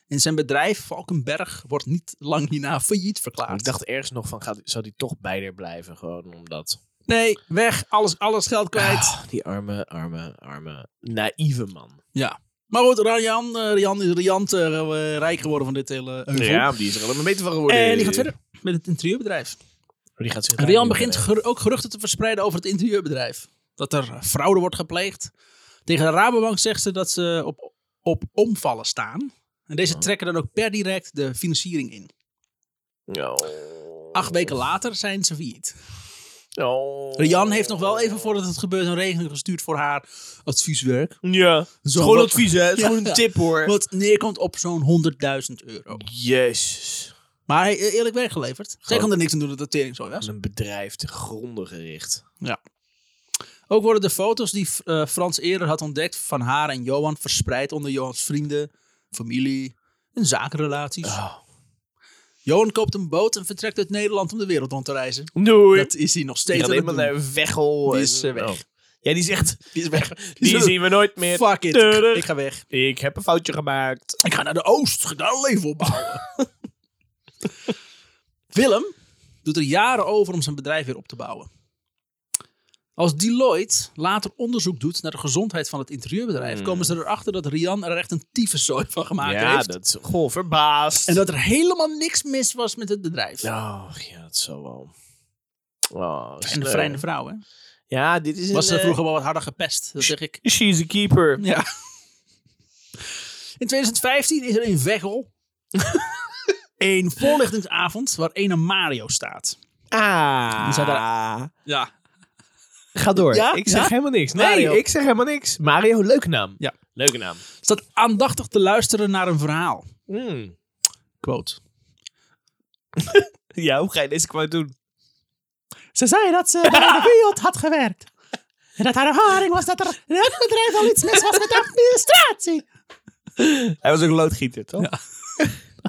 En zijn bedrijf, Valkenberg, wordt niet lang hierna failliet verklaard. Ik dacht ergens nog van, gaat, zou die toch bij haar blijven? Gewoon omdat... nee, weg, alles, alles geld kwijt. Ah, die arme, arme, arme, naïeve man. Ja. Maar goed, Rian, eh, Rian is riant eh, eh, rijk geworden van dit hele heuvel. die is er allemaal beter van geworden. En die gaat verder met het interieurbedrijf. Die gaat zich Rian begint Ja. ger- ook geruchten te verspreiden over het interieurbedrijf. Dat er fraude wordt gepleegd. Tegen de Rabobank zegt ze dat ze op, op omvallen staan. En deze trekken dan ook per direct de financiering in. Oh. Acht weken later zijn ze failliet. Oh. Rian heeft nog wel even voordat het gebeurt een regeling gestuurd voor haar advieswerk. Ja. Zo, gewoon wat- advies, hè? Het is Ja. gewoon een tip, hoor. Wat neerkomt op zo'n 100.000 euro. Jezus. Maar hij heeft eerlijk werk geleverd. Zij Gewoon- kan er niks aan doen dat de tering zo was. Een bedrijf te gronden gericht. Ook worden de foto's die eh, Frans eerder had ontdekt van haar en Johan verspreid onder Johans vrienden, familie en zakenrelaties. Ah. Oh. Johan koopt een boot en vertrekt uit Nederland om de wereld rond te reizen. Doei. Dat is hij nog Die steeds gaat aan het helemaal doen. naar Veghel. Die en- is, eh, weg. Oh. Ja, die zegt, Die is weg. die is- zien we nooit meer. Fuck it. Tuurlijk. Ik ga weg. Ik heb een foutje gemaakt. Ik ga naar de Oost. Ik ga daar een leven opbouwen. Willem doet er jaren over om zijn bedrijf weer op te bouwen. Als Deloitte later onderzoek doet naar de gezondheid van het interieurbedrijf, Hmm. komen ze erachter dat Rian er echt een tyfuszooi van gemaakt ja, heeft. dat is gewoon verbaasd. En dat er helemaal niks mis was met het bedrijf. Oh, ja, dat zou wel. Oh, en de sneu. vrijende vrouw, hè? Ja, dit is Was een... ze eh, vroeger wel wat harder gepest, dat zeg ik. She's a keeper. Ja. In 2015 is er in Veghel een voorlichtingsavond waar ene Mario staat. Ah. Die zou Ja. Ga door. Ja? Ik zeg Ja? helemaal niks. Nee, Mario. ik zeg helemaal niks. Mario, leuke naam. Ja. Leuke naam. Staat aandachtig te luisteren naar een verhaal. Mm. Quote. Ja, hoe ga je deze kwijt doen? Ze zei dat ze bij de wereld had gewerkt. En dat haar ervaring was dat er in het bedrijf al iets mis was met de administratie. Hij was ook loodgieter, toch?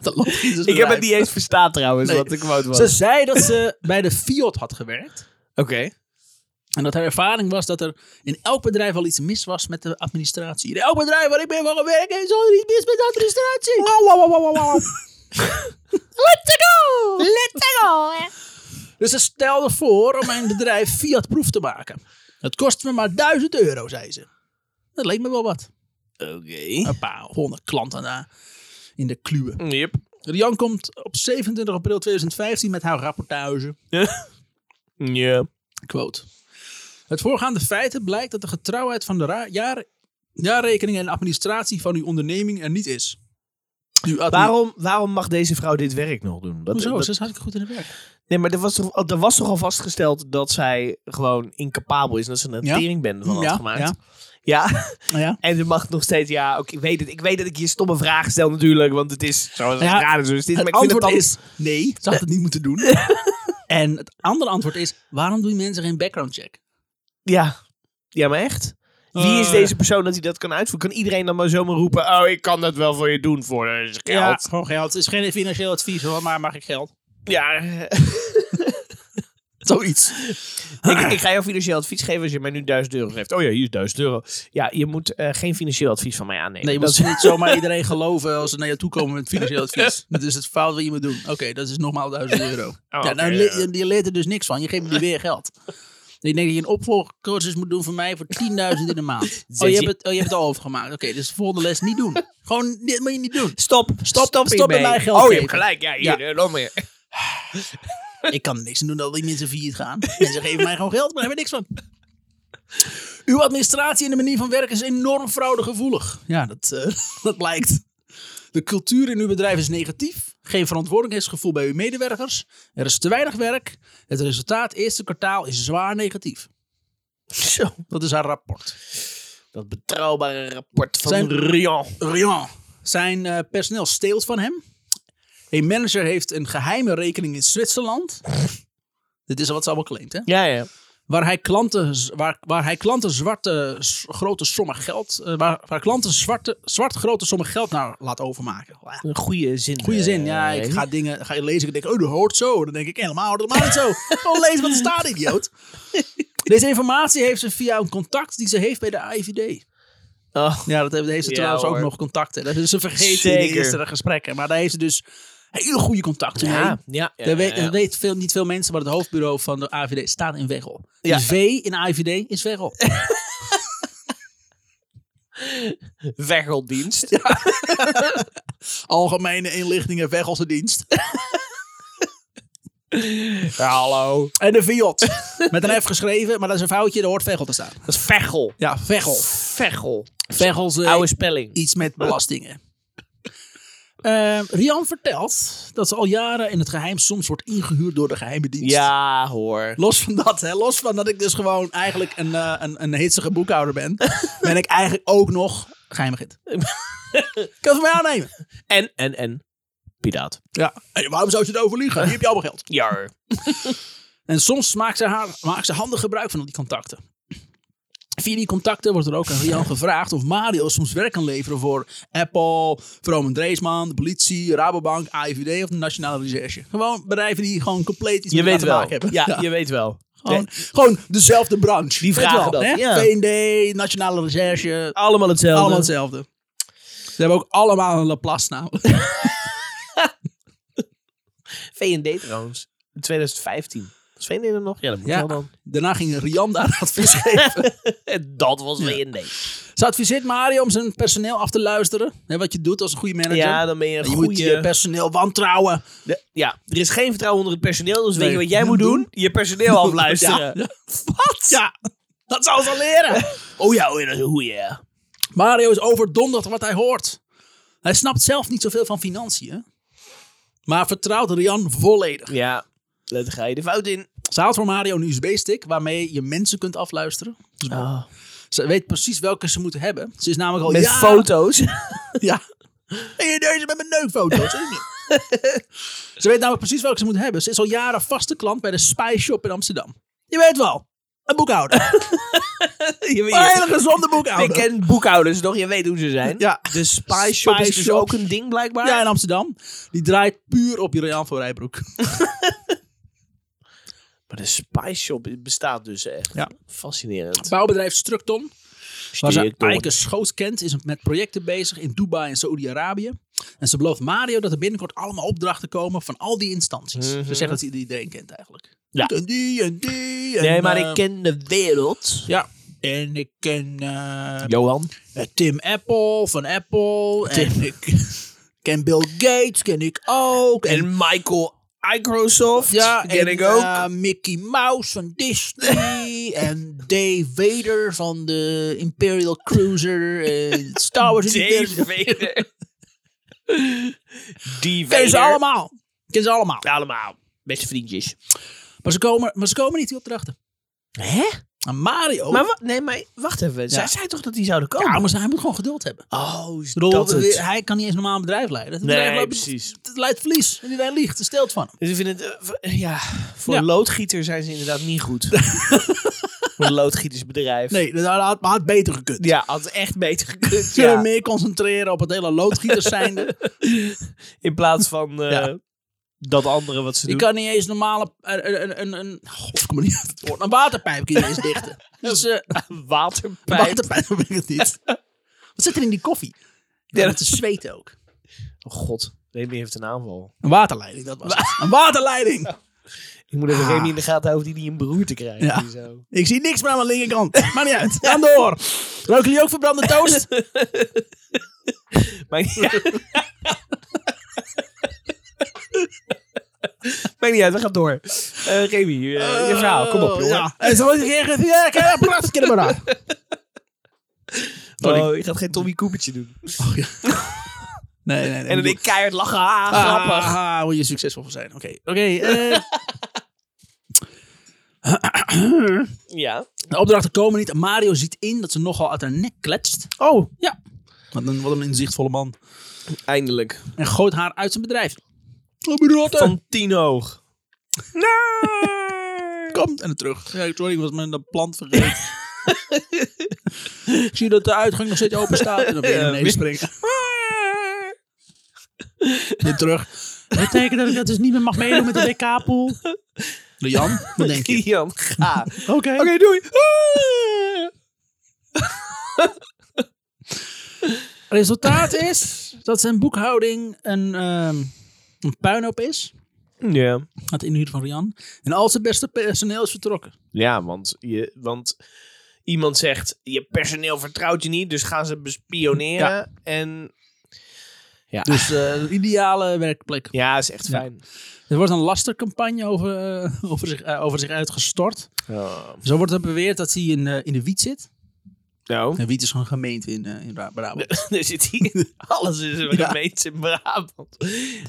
Dat loopt niet, dus Ik heb bedrijf. het niet eens verstaan trouwens, Nee. wat de quote was. Ze zei dat ze bij de Fiat had gewerkt. Oké. En dat haar ervaring was dat er in elk bedrijf al iets mis was met de administratie. In elk bedrijf waar ik ben van gewerkt is al iets mis met de administratie. Let's go! Let's go! Dus ze stelde voor om mijn bedrijf Fiat-proef te maken. Het kost me maar 1000 euro, zei ze. Dat leek me wel wat. Oké. Een paar honderd klanten daar in de kluwen. Yep. Rian komt op 27 april 2015 met haar rapportage. Ja. Quote. Het voorgaande feiten blijkt dat de getrouwheid van de ra- jaar jaarrekening en administratie van uw onderneming er niet is. Uw admi- Waarom, waarom mag deze vrouw dit werk nog doen? Dat, Hoezo? dat- Ze is hartstikke goed in het werk. nee, maar er was, toch, al- er was toch al vastgesteld dat zij gewoon incapabel is. en Dat ze een Ja. teringbende van had Ja, gemaakt. ja. Ja. Ja. en ze mag nog steeds... Ja, oké, ik, weet het, ik weet dat ik je stomme vragen stel natuurlijk. Want het is zoals Ja, het raar is. Dus dit, Het maar ik vind het antwoord dan- is nee, ze had het niet moeten doen. en het andere antwoord is, waarom doen mensen geen background check? Ja. ja, maar echt? Wie is Eh. deze persoon dat hij dat kan uitvoeren? Kan iedereen dan maar zomaar roepen... Oh, ik kan dat wel voor je doen voor eh, geld. Ja, gewoon geld. Het is geen financieel advies hoor, maar mag ik geld? Ja. Zoiets. Ik, ik ga jou financieel advies geven als je mij nu 1000 euro geeft. Oh ja, hier is 1000 euro. Ja, je moet eh, geen financieel advies van mij aannemen. Nee, je dat moet niet zomaar iedereen geloven als ze naar jou toe komen met financieel advies. Dat is het fout wat je moet doen. Oké, dat is nogmaals 1000 euro. ja, nou, Oh, oké, le- ja. je- Je leert er dus niks van. Je geeft hem weer geld. Ik denk dat je een opvolgcursus moet doen voor mij voor 10.000 in de maand. Oh, je hebt het, oh, je hebt het al overgemaakt. Oké, dus de volgende les niet doen. Gewoon, dit moet je niet doen. Stop, stop, stop, stop met hiermee. mij geld Oh, je geven. hebt gelijk. Ja, hier, eh, loop maar. Ik kan er niks aan doen dat die mensen failliet gaan. Mensen geven mij gewoon geld, maar daar hebben we niks van. Uw administratie en de manier van werken is enorm fraudegevoelig. Ja, dat, eh, dat blijkt. De cultuur in uw bedrijf is negatief. Geen verantwoordelijkheidsgevoel bij uw medewerkers. Er is te weinig werk. Het resultaat eerste kwartaal is zwaar negatief. Zo, Dat is haar rapport. dat betrouwbare rapport van Zijn- Rian. Rian. Zijn eh, personeel steelt van hem. Een manager heeft een geheime rekening in Zwitserland. Dit is wat ze allemaal claimt, hè? Ja, ja. waar hij klanten, z- waar, waar hij klanten zwarte s- grote sommen geld, eh, waar, waar klanten zwarte, zwart grote sommen geld naar laat overmaken. Ja, Een goede zin. Goeie zin, ja. eh, Ik ga dingen ga je lezen en denk, oh, dat hoort zo. Dan denk ik, helemaal hoort het helemaal niet zo. Gewoon lezen wat er staat, idioot. Deze informatie heeft ze via een contact die ze heeft bij de IVD. Oh, Ja, dat heeft, heeft ze Ja, trouwens ook hoor. nog contacten. Dat is ze vergeten in de Zeker. eerste gesprekken. Maar daar heeft ze dus hele goede contacten mee. ja, ja. ja, Dat weet, ja. dat weet veel, niet veel mensen, maar het hoofdbureau van de AVD staat in Weghel. Ja. De V in AVD is Weghel. Weggeldienst. Algemene inlichtingen Weghelse dienst. Ja, hallo. En de Viot. Met een F geschreven, maar dat is een foutje, daar hoort Veghel te staan. Dat is vechel. Ja, Veghel. Vechel. Veghels eh, Oude spelling. iets met belastingen. Eh, Rian vertelt dat ze al jaren in het geheim soms wordt ingehuurd door de geheime dienst. Ja, hoor. Los van dat, hè, los van dat ik dus gewoon eigenlijk een, eh, een, een hitsige boekhouder ben, ben ik eigenlijk ook nog geheimgid. kan je het van mij aannemen? En, en, en. Piraat. Ja. Hey, waarom zou ze het overliegen? Hier heb je allemaal geld. Jar. En soms maakt ze, haar, maakt ze handig gebruik van al die contacten. Via die contacten wordt er ook aan Rian gevraagd of Mario soms werk kan leveren voor Apple, Vroom en Dreesman, de politie, Rabobank, AIVD of de Nationale Recherche. Gewoon bedrijven die gewoon compleet iets Je met weet elkaar te wel. maken hebben. Ja, je weet wel. Gewoon, gewoon dezelfde branche. Die vragen dat, ja. VND, Nationale Recherche, Allemaal hetzelfde. allemaal hetzelfde. Ze hebben ook allemaal een Laplace namelijk. V&D trouwens. In 2015. Was V&D er nog? Ja, dat moet Ja. wel dan. Daarna ging Rian daar advies geven. En dat was V&D. Ze adviseert Mario om zijn personeel af te luisteren. Hè, wat je doet als een goede manager. Ja, dan ben je een je moet goede... je personeel wantrouwen. De- ja, er is geen vertrouwen onder het personeel. Dus Nee. weet je wat jij moet doen? Je personeel afluisteren. Ja. Wat? Ja, dat zou ze al leren. Oh ja, oh ja, dat is een goeie. ja. Mario is overdonderd wat hij hoort. Hij snapt zelf niet zoveel van financiën. Maar vertrouwt Rian volledig. Ja, daar ga je de fout in. Ze haalt voor Mario een USB-stick waarmee je mensen kunt afluisteren. Dus Ze weet precies welke ze moeten hebben. Ze is namelijk al Met jaren- foto's. Ja. En deze met mijn neukfoto's. hè? ze weet namelijk precies welke ze moet hebben. Ze is al jaren vaste klant bij de Spy Shop in Amsterdam. Je weet wel. Een boekhouder. je weet Een hele gezonde ik boekhouder. ken boekhouders nog, je weet hoe ze zijn. Ja. De spy shop Spy is dus shop. ook een ding blijkbaar. Ja, in Amsterdam. Die draait puur op Juriaan van Rijbroek. Maar de spy shop bestaat dus echt. Ja. Fascinerend. Bouwbedrijf Structon, waar ze Structon. Eike Schoot kent, is met projecten bezig in Dubai en Saoedi-Arabië. En ze belooft Mario dat er binnenkort allemaal opdrachten komen van al die instanties. Ze zeggen dat ze iedereen kent eigenlijk. Ja. En die en die. en, Nee, maar eh, ik ken de wereld. Ja. En ik ken eh, Johan. eh, Tim Apple van Apple. En ik ken Bill Gates, ken ik ook. En, En Michael Microsoft. ja, ken en, ik ook. eh, Mickey Mouse van Disney. en Dave Vader van de Imperial Cruiser. eh, Star Wars. Dave universum. Vader. Die Ken ze Vader. allemaal. Ken ze allemaal. Allemaal. Beste vriendjes. Maar, ze komen, maar ze komen niet die opdrachten. Hè? Maar Mario. Maar wa- nee, maar wacht even. Zij zei toch dat die zouden komen? ja, maar hij moet gewoon geduld hebben. Oh, is Ik bedoel, dat het? Hij kan niet eens normaal een bedrijf leiden. Het bedrijf Nee, loopt- precies. Het leidt verlies. En iedereen liegt. Het steelt van hem. Dus ik vind het, eh, v- ja, voor Ja. een loodgieter zijn ze inderdaad niet goed. voor een loodgietersbedrijf. Nee, dat had, had- had beter gekund. Ja, had echt beter gekund. Ze kunnen Ja. meer concentreren op het hele loodgieters zijnde. In plaats van eh, Ja. dat andere wat ze Ik doen. kan niet eens normale... Een, een, een, een, god, ik kom er niet uit het woord. Een waterpijp kun je niet eens dichten. Dus, eh, Waterpijp. waterpijp ben ik het niet. Wat zit er in die koffie? Ja, dat is zweet ook. Oh god, Remy heeft een aanval. Een waterleiding, dat was het. Een waterleiding! Ik moet even Ah. Remy in de gaten houden die niet een beroerte te krijgen. Ja. hier Zo. Ik zie niks meer aan mijn linkerkant. Maakt niet uit. Gaan door. Roken jullie ook verbrande toast? Maakt niet uit. Maakt niet uit, we gaan door. Eh Remy, eh, je verhaal, kom op jongen. Ah, Ja. En zo was Eh, ik hier. Ja, ik heb een prachtig in Oh, je gaat geen Tommy Coopertje doen. Nee, nee, nee. En dan ik keihard lachen, ah, grappig. Ah, hoe je succesvol voor zijn. Oké. Oké. eh, Ja. de opdrachten komen niet. Mario ziet in dat ze nogal uit haar nek kletst. Oh, Wat een, wat een inzichtvolle man. eindelijk. En gooit haar uit zijn bedrijf. Oh, mijn rotte. Van tien hoog. Komt en terug. Ja, sorry, ik was mijn eh, plant vergeten. ik zie dat de uitgang nog steeds open staat. En dan ben je Ja, naar beneden springen. Weer terug. Dat betekent dat ik dat dus niet meer mag meedoen met de WK-pool. Jan, wat denk je? Kian, ga. Oké, Oké. doei. Ah! Resultaat is dat zijn boekhouding een, ehm, een puinhoop is. Ja. Het inhuur van Rian. En al zijn beste personeel is vertrokken. Ja, want, je, want iemand zegt, je personeel vertrouwt je niet, dus gaan ze bespioneren. En Dus eh, een ideale werkplek. ja, is echt Ja. fijn. Er wordt een lastercampagne over, eh, over, zich, eh, over zich uitgestort. Ja. Zo wordt er beweerd dat hij in, eh, in de wiet zit. Nou, En wiet is gewoon een gemeente in, eh, in Bra- Brabant. er zit hier alles is een Ja. gemeente in Brabant.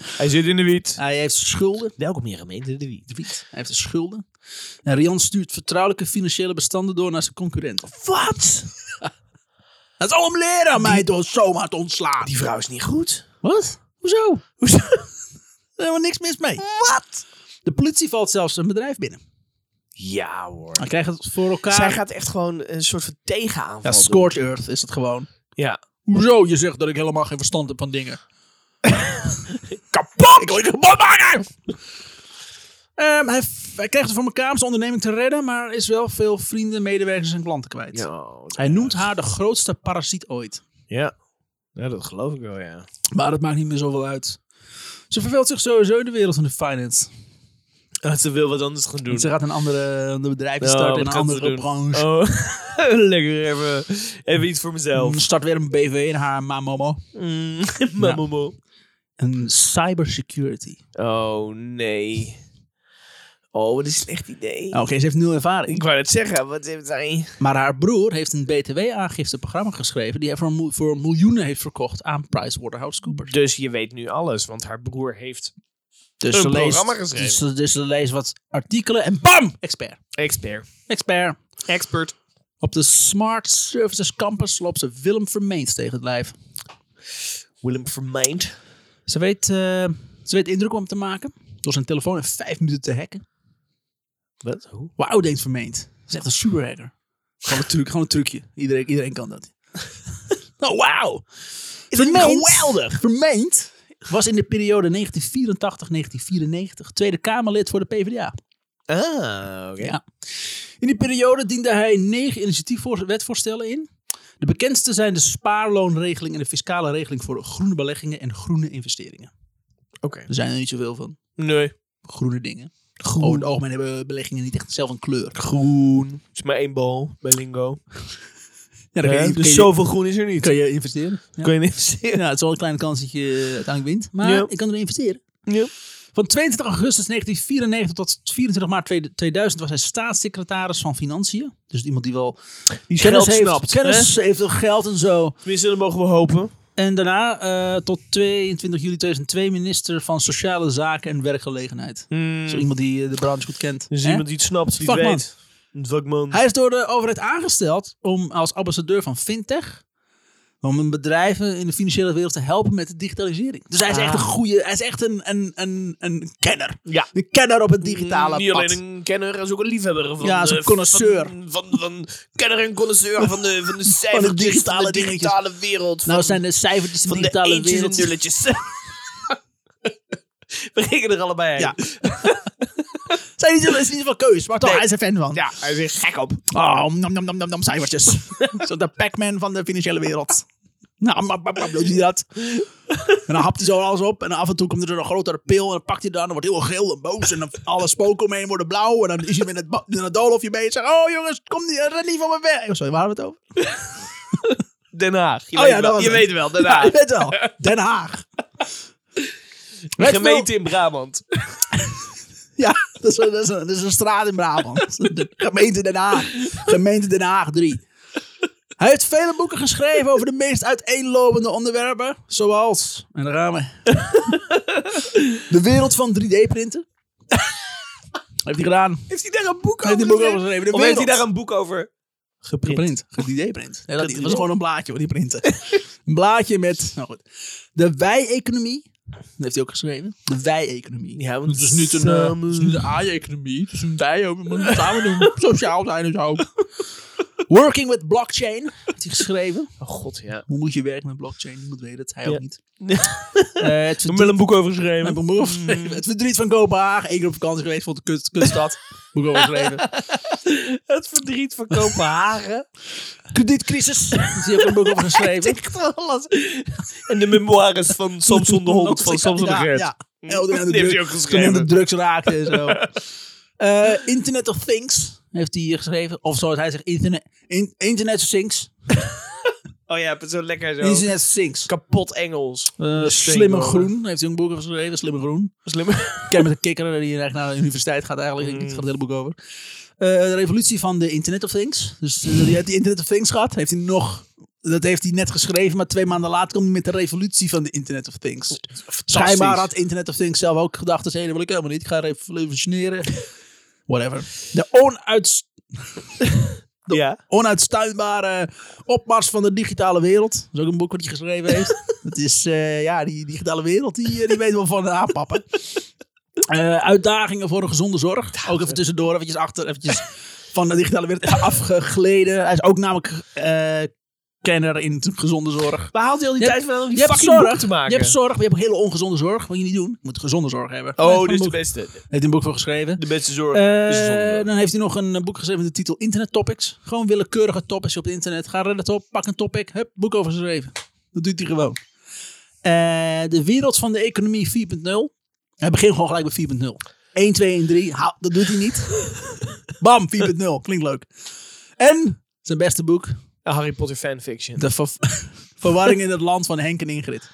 Hij zit in de wiet. Hij heeft schulden. Welkom hier gemeente in de wiet. De wiet. Hij heeft schulden. En Rian stuurt vertrouwelijke financiële bestanden door naar zijn concurrenten. Wat? Het is al om leren aan mij door zomaar te ontslaan. Die vrouw is niet goed. Wat? Hoezo? Hoezo? Er is helemaal niks mis mee. Wat? De politie valt zelfs een bedrijf binnen. Ja hoor. Hij krijgt het voor elkaar. Zij gaat echt gewoon een soort van tegenaanval ja, doen. Scorched Earth is het gewoon. Ja. Hoezo? Je zegt dat ik helemaal geen verstand heb van dingen. Kapot! Ik wil je kapot maken! Ehm, hij, hij krijgt het voor elkaar om zijn onderneming te redden, maar is wel veel vrienden, medewerkers en klanten kwijt. Oh, Hij noemt haar de grootste parasiet ooit. Ja. ja, dat geloof ik wel, ja. Maar dat maakt niet meer zoveel uit. Ze verveelt zich sowieso in de wereld van de finance. Dat ze wil wat anders gaan doen. Want ze gaat een andere een bedrijf Nou, starten in wat een gaat ze andere doen? branche. Oh, lekker even, even iets voor mezelf. Start weer een BV in haar Mamomo. Mm. Ja. Mamomo. Een cybersecurity. Oh, nee. Oh, wat is een slecht idee. Nou, Oké, ze heeft nul Ik ervaring. wou het zeggen, wat heeft hij... Maar haar broer heeft een BTW-aangifteprogramma geschreven... die hij voor, mo- voor miljoenen heeft verkocht aan PricewaterhouseCoopers. Dus je weet nu alles, want haar broer heeft Dus Een ze leest, programma geschreven. Dus, ze- dus ze leest wat artikelen en bam! Expert. expert. Expert. Expert. Op de Smart Services Campus loopt ze Willem Vermeend tegen het lijf. Willem Vermeind. Ze weet, eh, ze weet indruk om te maken... door zijn telefoon in vijf minuten te hacken. Wat? Hoe? Wauw, denkt Vermeend. Dat is echt een superhacker. Gewoon een, truc, gewoon een trucje. Iedereen, iedereen kan dat. oh, wauw. Is dat niet geweldig? Vermeend was in de periode 1984-1994 Tweede Kamerlid voor de PvdA. Ah, oké. Ja. In die periode diende hij negen initiatiefwetvoorstellen in. De bekendste zijn de spaarloonregeling en de fiscale regeling voor groene beleggingen en groene investeringen. Oké. Er zijn er niet zoveel van. Nee. Groene dingen. Groen. Over het algemeen hebben beleggingen niet echt zelf een kleur. Groen. is maar één bal bij Lingo. Ja, Hè? dan dus zoveel groen is er niet. kan je investeren. Kun je niet investeren. Ja, het is wel een kleine kans dat je uiteindelijk wint. Maar Ja. ik kan erin investeren. Ja. Van 22 augustus 1994 tot 24 maart 2000 was hij staatssecretaris van Financiën. Dus iemand die wel Die kennis geld heeft, snapt. hè? kennis heeft ook geld en zo. Tenminste, dat mogen we hopen. En daarna eh, tot 22 juli 2002 minister van Sociale Zaken en Werkgelegenheid. Zo iemand die eh, de branche goed kent. Dus Hè? iemand die het snapt, die het Vakman. weet. Een vakman. Hij is door de overheid aangesteld om als ambassadeur van fintech om een bedrijven in de financiële wereld te helpen met de digitalisering. Dus hij is Ah. echt een goede, hij is echt een, een, een, een kenner. Ja. Een kenner op het digitale Mm, Niet pad. alleen een kenner, hij is ook een liefhebber. Van, Ja, hij is een eh, connoisseur. Van, van, van- kenner en connoisseur van de, van de cijfertjes, van de digitale digitale, dingetjes. wereld. Nou van, zijn de cijfertjes in van de de digitale eentjes en wereld. nulletjes. We gingen er allebei heen. Ja. Zijn niet, zo- is niet zoveel keus, maar toch, Nee. hij is er fan van. Ja, hij is er gek op. Oh, nam, nam, nam, nam, nam, cijfertjes. zo de Pac-Man van de financiële wereld. Nou, maar, maar, maar, doet hij dat? En dan hapt hij zo alles op. En af en toe komt er een grotere pil. En dan pakt hij dan. Dan wordt hij heel geel en boos. En dan alle spoken omheen worden blauw. En dan is hij met het, ba- met het doolhofje mee. En zegt, oh jongens, kom niet, ren niet van me weg. Oh, sorry, waar hadden we het over? Den Haag. Je, Oh weet, ja, dat wel. was je het. weet wel, Den Ja, Haag. ik weet wel. Den Haag. De gemeente in Brabant. Ja, dat is, een- dat, is een, dat is een straat in Brabant. De gemeente Den Haag. Gemeente Den Haag 3. Hij heeft vele boeken geschreven over de meest uiteenlopende onderwerpen. Zoals, en daar gaan we. De wereld van 3D-printen. Heeft hij gedaan. Heeft hij daar een boek Heeft hij boeken over geschreven. De Of heeft hij wereld. daar een boek over geprint? Geprint. Ge-3D-print. Nee, dat niet. Het was gewoon een blaadje hoor, die printen. een blaadje met, nou goed. De wij-economie. Dat heeft hij ook geschreven. De wij-economie. Ja, want Het is niet een, eh, het is niet een AI-economie. Het is een wij ook. We moeten samen doen. Sociaal zijn en zo. Working with blockchain. Heeft hij geschreven. Oh god, ja. Hoe moet je werken met blockchain? Niemand weet het. Hij Ja. ook niet. Eh, het, Ik heb verdriet, een boek over geschreven. heb een boek opgeschreven. het verdriet van Kopenhagen. Eén keer op vakantie geweest. Vond het een kut, kutstad. Boek overgeschreven. Het verdriet van Kopenhagen. Kredietcrisis. Dus die heb ik een boek over geschreven. Echt alles. En de memoires van Samson de Hond van Samson de Ja, Gert. Ja. En toen hij aan de Die heeft hij druk- ook Toen hij aan de geschreven. drugs raakte en zo. Eh, Internet of Things heeft hij hier geschreven. Of zoals hij zegt, Internet, in- Internet of Things. Oh ja, zo lekker zo. Internet of Things. Kapot Engels. Eh, Slimme steenkolen. Groen heeft hij een boek over geschreven. Slimme Groen. Slim. Ken met een kikker die eigenlijk naar de universiteit gaat eigenlijk. Het gaat het hele boek over. Eh, de revolutie van de Internet of Things. Dus eh, die heeft die Internet of Things gehad. Heeft hij nog... Dat heeft hij net geschreven, maar twee maanden later komt hij met de revolutie van de Internet of Things. Schijnbaar had Internet of Things zelf ook gedacht, dat hey, dat wil ik helemaal niet. Ik ga revolutioneren. Whatever. De onuits, Ja. onuitstuimbare opmars van de digitale wereld. Dat is ook een boek wat hij geschreven heeft. Dat is, eh, ja, die digitale wereld, die, eh, die weet wel van aanpappen. Eh, uitdagingen voor een gezonde zorg. eh. Ook even tussendoor, eventjes achter, eventjes van de digitale wereld afgegleden. Hij is ook namelijk eh, kenner in gezonde zorg. Waar haalt hij al die Je tijd van om die Je hebt, fucking zorg, boek te maken? je hebt zorg, maar je hebt ook hele ongezonde zorg. Moet je niet doen. Je moet gezonde zorg hebben. Hij oh, heeft dit is een de boek- beste. heeft hij een boek voor geschreven. De beste zorg. Eh, is gezonde zorg. dan heeft hij nog een eh, boek geschreven met de titel Internet Topics. Gewoon willekeurige topics op het internet. Ga Reddit op, pak een topic, hup, boek over geschreven. Dat doet hij gewoon. Eh, de wereld van de economie 4.0. Hij begint gewoon gelijk bij 4.0. 1, 2 en 3, hou, dat doet hij niet. Bam, 4.0, klinkt leuk. En zijn beste boek, Een Harry Potter fanfiction. De ver- Verwarring in het Land van Henk en Ingrid.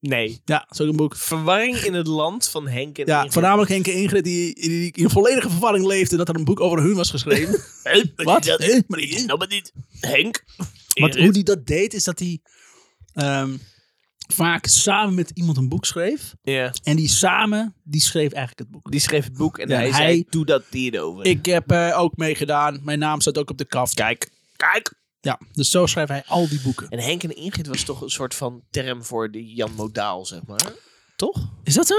Nee. Ja, dat is ook een boek. Verwarring in het land van Henk en Ja, Ingrid. voornamelijk Henk en Ingrid die, die in volledige verwarring leefden dat er een boek over hun was geschreven. Hey, maar Wat? die dat- Hè? Maar die- die dat maar niet. Henk. eh, Want Ingrid. hoe hij dat deed, is dat hij ehm, vaak samen met iemand een boek schreef. Ja. En die samen, die schreef eigenlijk het boek. Die schreef het boek en Ja, hij, hij- zei, doe dat hierover. Ik heb eh, ook meegedaan. Mijn naam staat ook op de kaft. Kijk. Kijk. Ja, dus zo schrijft hij al die boeken. En Henk en Ingrid was toch een soort van term voor die Jan Modaal, zeg maar. Toch? Is dat zo?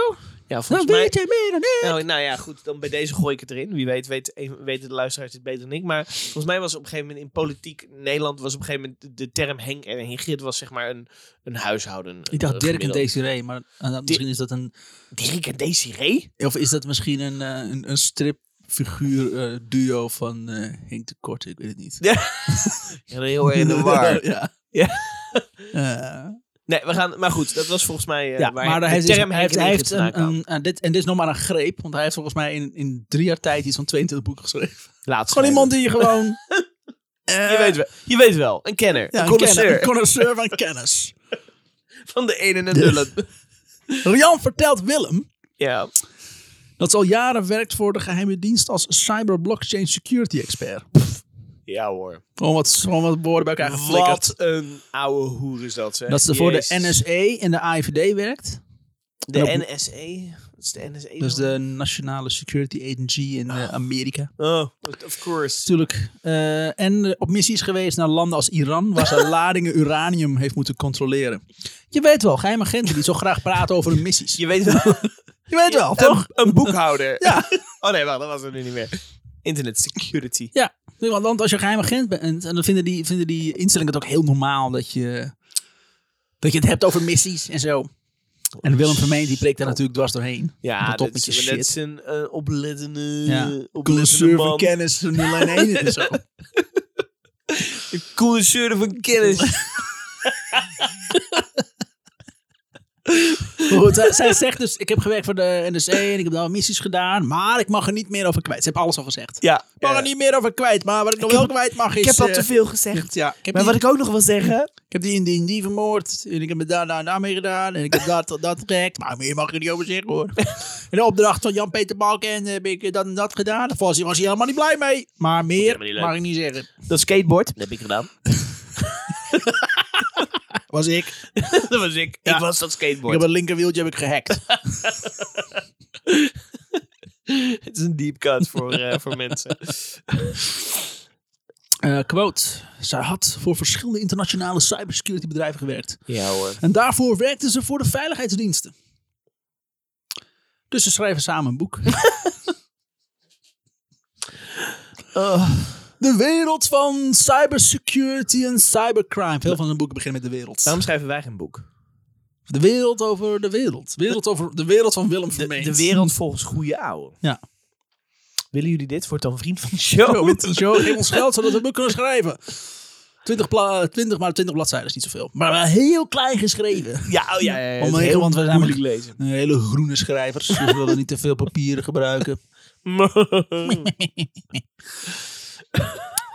Ja, Dan volgens Nou, mij... weet jij meer dan ik. Nou, nou ja, goed, dan bij deze gooi ik het erin. Wie weet weet, even- weten de luisteraars dit beter dan ik. Maar volgens mij was op een gegeven moment in politiek Nederland... was op een gegeven moment de, de term Henk en Ingrid was zeg maar een, een huishouden. Ik dacht Dirk en gemiddelde. Desiree, maar eh, misschien is dat een... Dirk en Desiree? Of is dat misschien een, eh, een, een stripfiguur eh, duo van eh, Henk de Korte? Ik weet het niet. Ja, dan heel erg in de war. ja. Ja. Eh, Nee, we gaan... Maar goed, dat was volgens mij eh, ja, waar maar de hij heeft, dus- term hij Henk heeft, en hij Ingrid heeft vandaan een, kwam. een- en dit, en dit is nog maar een greep, want hij heeft volgens mij in, in drie jaar tijd iets van 22 boeken geschreven. Laatst Gewoon iemand die gewoon... Eh, Je weet, wel, je weet wel, een kenner. Ja, een een, kenner, connoisseur een connoisseur van kennis. van de ene en nullen. Rian vertelt Willem Ja. dat ze al jaren werkt voor de geheime dienst als cyber-blockchain security expert. ja hoor. Gewoon wat, gewoon wat woorden bij elkaar geflikkerd. Wat een oude hoer is dat, zeg. Dat ze voor de E. Jezus. NSE en de AIVD werkt. De En NSA? Wat is de NSA? Dat is dan? de Nationale Security Agency in eh, Amerika. Oh, of course. Natuurlijk. Eh, en eh, op missies geweest naar landen als Iran, waar ze ladingen uranium heeft moeten controleren. Je weet wel, geheime agenten die zo graag praten over hun missies. Je, Je weet wel. weet wel, toch? Een, een boekhouder. Ja. Oh nee, wacht, dat was er nu niet meer. Internet security. Ja. Nee, Want want als je geheim agent bent, en dan vinden die, vinden die instellingen het ook heel normaal dat je, dat je het hebt over missies en zo. En Willem Vermeen die breekt daar natuurlijk dwars doorheen. Oh. Ja, dat dat is, toppetje maar dat shit. is een eh, oplettende, Ja. oplettende man. kennis 0 en 1 en zo. Connoisseur van kennis. Maar goed, zij, zij zegt dus, ik heb gewerkt voor de NRC en ik heb daar missies gedaan, maar ik mag er niet meer over kwijt. Ze hebben alles al gezegd. ja. Ik mag er ja. niet meer over kwijt, maar wat ik nog Ik wel heb- kwijt mag is... Ik heb al eh, te veel gezegd. Ja, ik heb, Maar die, wat ik ook nog wil zeggen. ik heb die en die en die vermoord en ik heb me daar daar en daar mee gedaan en ik heb dat dat gehackt, maar meer mag je niet over zeggen hoor. In de opdracht van Jan-Peter Balken eh, heb ik dat en dat gedaan. Daar was hij, was hij helemaal niet blij mee, maar meer helemaal niet leuk. mag ik niet zeggen. Dat skateboard. Dat heb ik gedaan. Was ik. dat was ik. Ja. Ik was dat Ik skateboard. heb een linkerwieltje heb ik gehackt. Het is een deep cut voor, eh, voor mensen. Eh, quote. Zij had voor verschillende internationale cybersecurity bedrijven gewerkt. Ja hoor. En daarvoor werkte ze voor de veiligheidsdiensten. Dus ze schrijven samen een boek. Eh, de wereld van cybersecurity en cybercrime. Veel van zijn boeken beginnen met de wereld. Waarom schrijven wij geen boek? De wereld over de wereld. wereld over de wereld van Willem De, Vermeend. de wereld volgens goede ouwe. Ja. Willen jullie dit? Wordt dan vriend van de show. Zo, met een show. Geef ons geld zodat we een boek kunnen schrijven. 20, pla- 20 maar 20 bladzijden is niet zoveel. Maar wel heel klein geschreven. Ja, oh ja, ja, ja. Om Het is heel- heel, want we zijn moeilijk moeilijk lezen. Eh, hele groene schrijvers. Dus we willen niet te veel papieren gebruiken.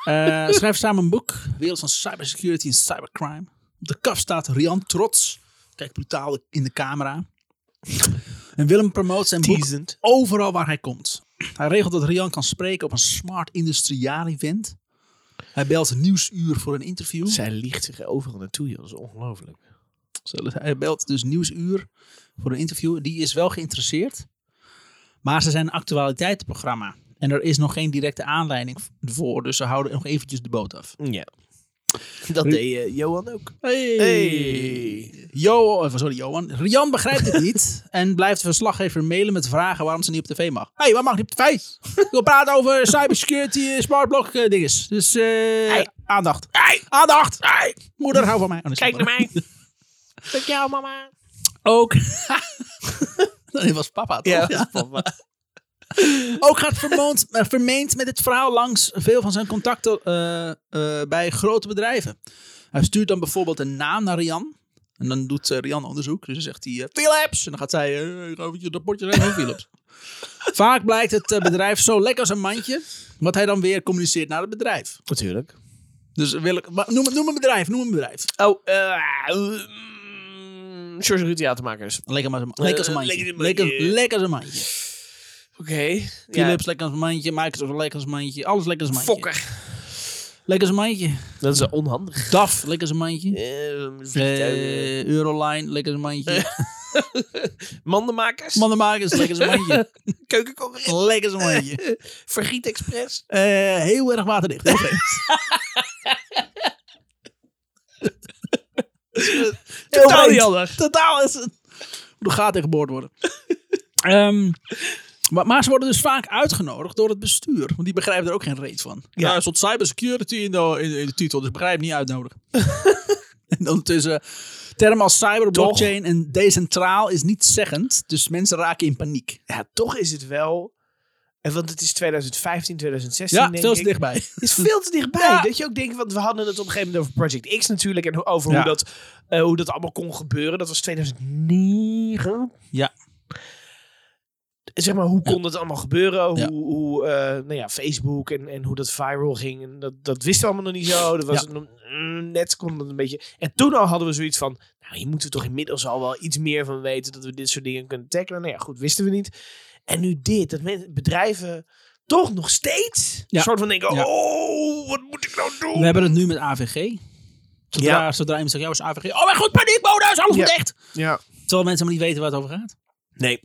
Eh, schrijf samen een boek. Wereld van cybersecurity en cybercrime. Op de kaf staat Rian Trots. Kijkt brutaal in de camera. En Willem promoot zijn boek Teasend. overal waar hij komt. Hij regelt dat Rian kan spreken op een smart industriaal event. Hij belt Nieuwsuur voor een interview. Zij liegt zich overal naartoe, joh. Dat is ongelooflijk. Zo, dus Hij belt dus Nieuwsuur voor een interview. Die is wel geïnteresseerd. Maar ze zijn een actualiteitenprogramma. En er is nog geen directe aanleiding voor. Dus ze houden nog eventjes de boot af. Ja. Dat Ru- deed eh, Johan ook. Hey. Hey. Jo, eh, sorry, Johan. Rian begrijpt het niet. en blijft de verslaggever mailen met vragen waarom ze niet op tv mag. Hé, hey, waar mag niet op tv? Ik wil praten over cybersecurity, eh, smartblock eh, dinges. Dus eh, aandacht. Aandacht. Moeder, hou van mij. Oh, dat is Kijk naar jammer. mij. Kijk jou, mama. Ook. Dat was papa, toch? Ja. Ook gaat vermoond, eh, vermeend met het verhaal langs veel van zijn contacten eh, eh, bij grote bedrijven. Hij stuurt dan bijvoorbeeld een naam naar Rian. En dan doet eh, Rian onderzoek. Dus dan zegt hij eh, Philips. En dan gaat zij eh, ik ga eventjes dat potje zijn van Philips. Vaak blijkt het eh, bedrijf zo lekker als een mandje. Wat hij dan weer communiceert naar het bedrijf. Natuurlijk. Dus wil ik, maar noem, noem een bedrijf, noem een bedrijf. Oh, eh... mm, George Ruud Theatermakers. Lekker, maar, lekker als een Eh, mandje. lekker Lekker, als een mandje. lekker als een mandje. Oké. Philips lekker als een mandje. Microsoft lekker als een mandje. Alles lekker als een mandje. Fokker. Lekker als een mandje. Dat is onhandig. DAF, lekker als een mandje. Eh, vliegtuigen. Eh, Euroline, lekker als een mandje. Mandenmakers. Mannenmakers, lekker als een mandje. Keukenconcurrent. Lekker als een mandje. Vergiet Express. Eh, heel erg waterdicht. Oké. Heel Totaal vreemd. niet handig. Totaal is het. De gaat geboord worden. Ehm, maar, maar ze worden dus vaak uitgenodigd door het bestuur. Want die begrijpen er ook geen reet van. Ja, er stond cybersecurity in de, in, in de titel, dus begrijp niet uitnodigen. en dan tussen termen als cyber, blockchain en decentraal is niet zeggend. Dus mensen raken in paniek. Ja, toch is het wel... En want het is 2015, 2016 Ja, denk veel te ik. dichtbij. is veel te dichtbij. Ja. Dat je ook denkt, want we hadden het op een gegeven moment over Project X natuurlijk. En ho- over Ja. hoe, dat, eh, hoe dat allemaal kon gebeuren. Dat was 2009. Ja. Zeg maar, hoe kon dat allemaal gebeuren? Hoe, Ja. hoe eh, nou ja, Facebook en, en hoe dat viral ging. En dat, dat wisten we allemaal nog niet zo. Dat was nog- mm, net kon dat een beetje. En toen al hadden we zoiets van, nou hier moeten we toch inmiddels al wel iets meer van weten. Dat we dit soort dingen kunnen tackelen. Nou ja, goed, wisten we niet. En nu dit, dat men- bedrijven toch nog steeds Ja. een soort van denken, Ja. oh, wat moet ik nou doen? We hebben het nu met AVG. Zodra, zodra iemand zegt, ja, is AVG. Oh mijn god, paniekmodus, alles Ja. moet echt. Ja. Terwijl mensen maar niet weten waar het over gaat. Nee.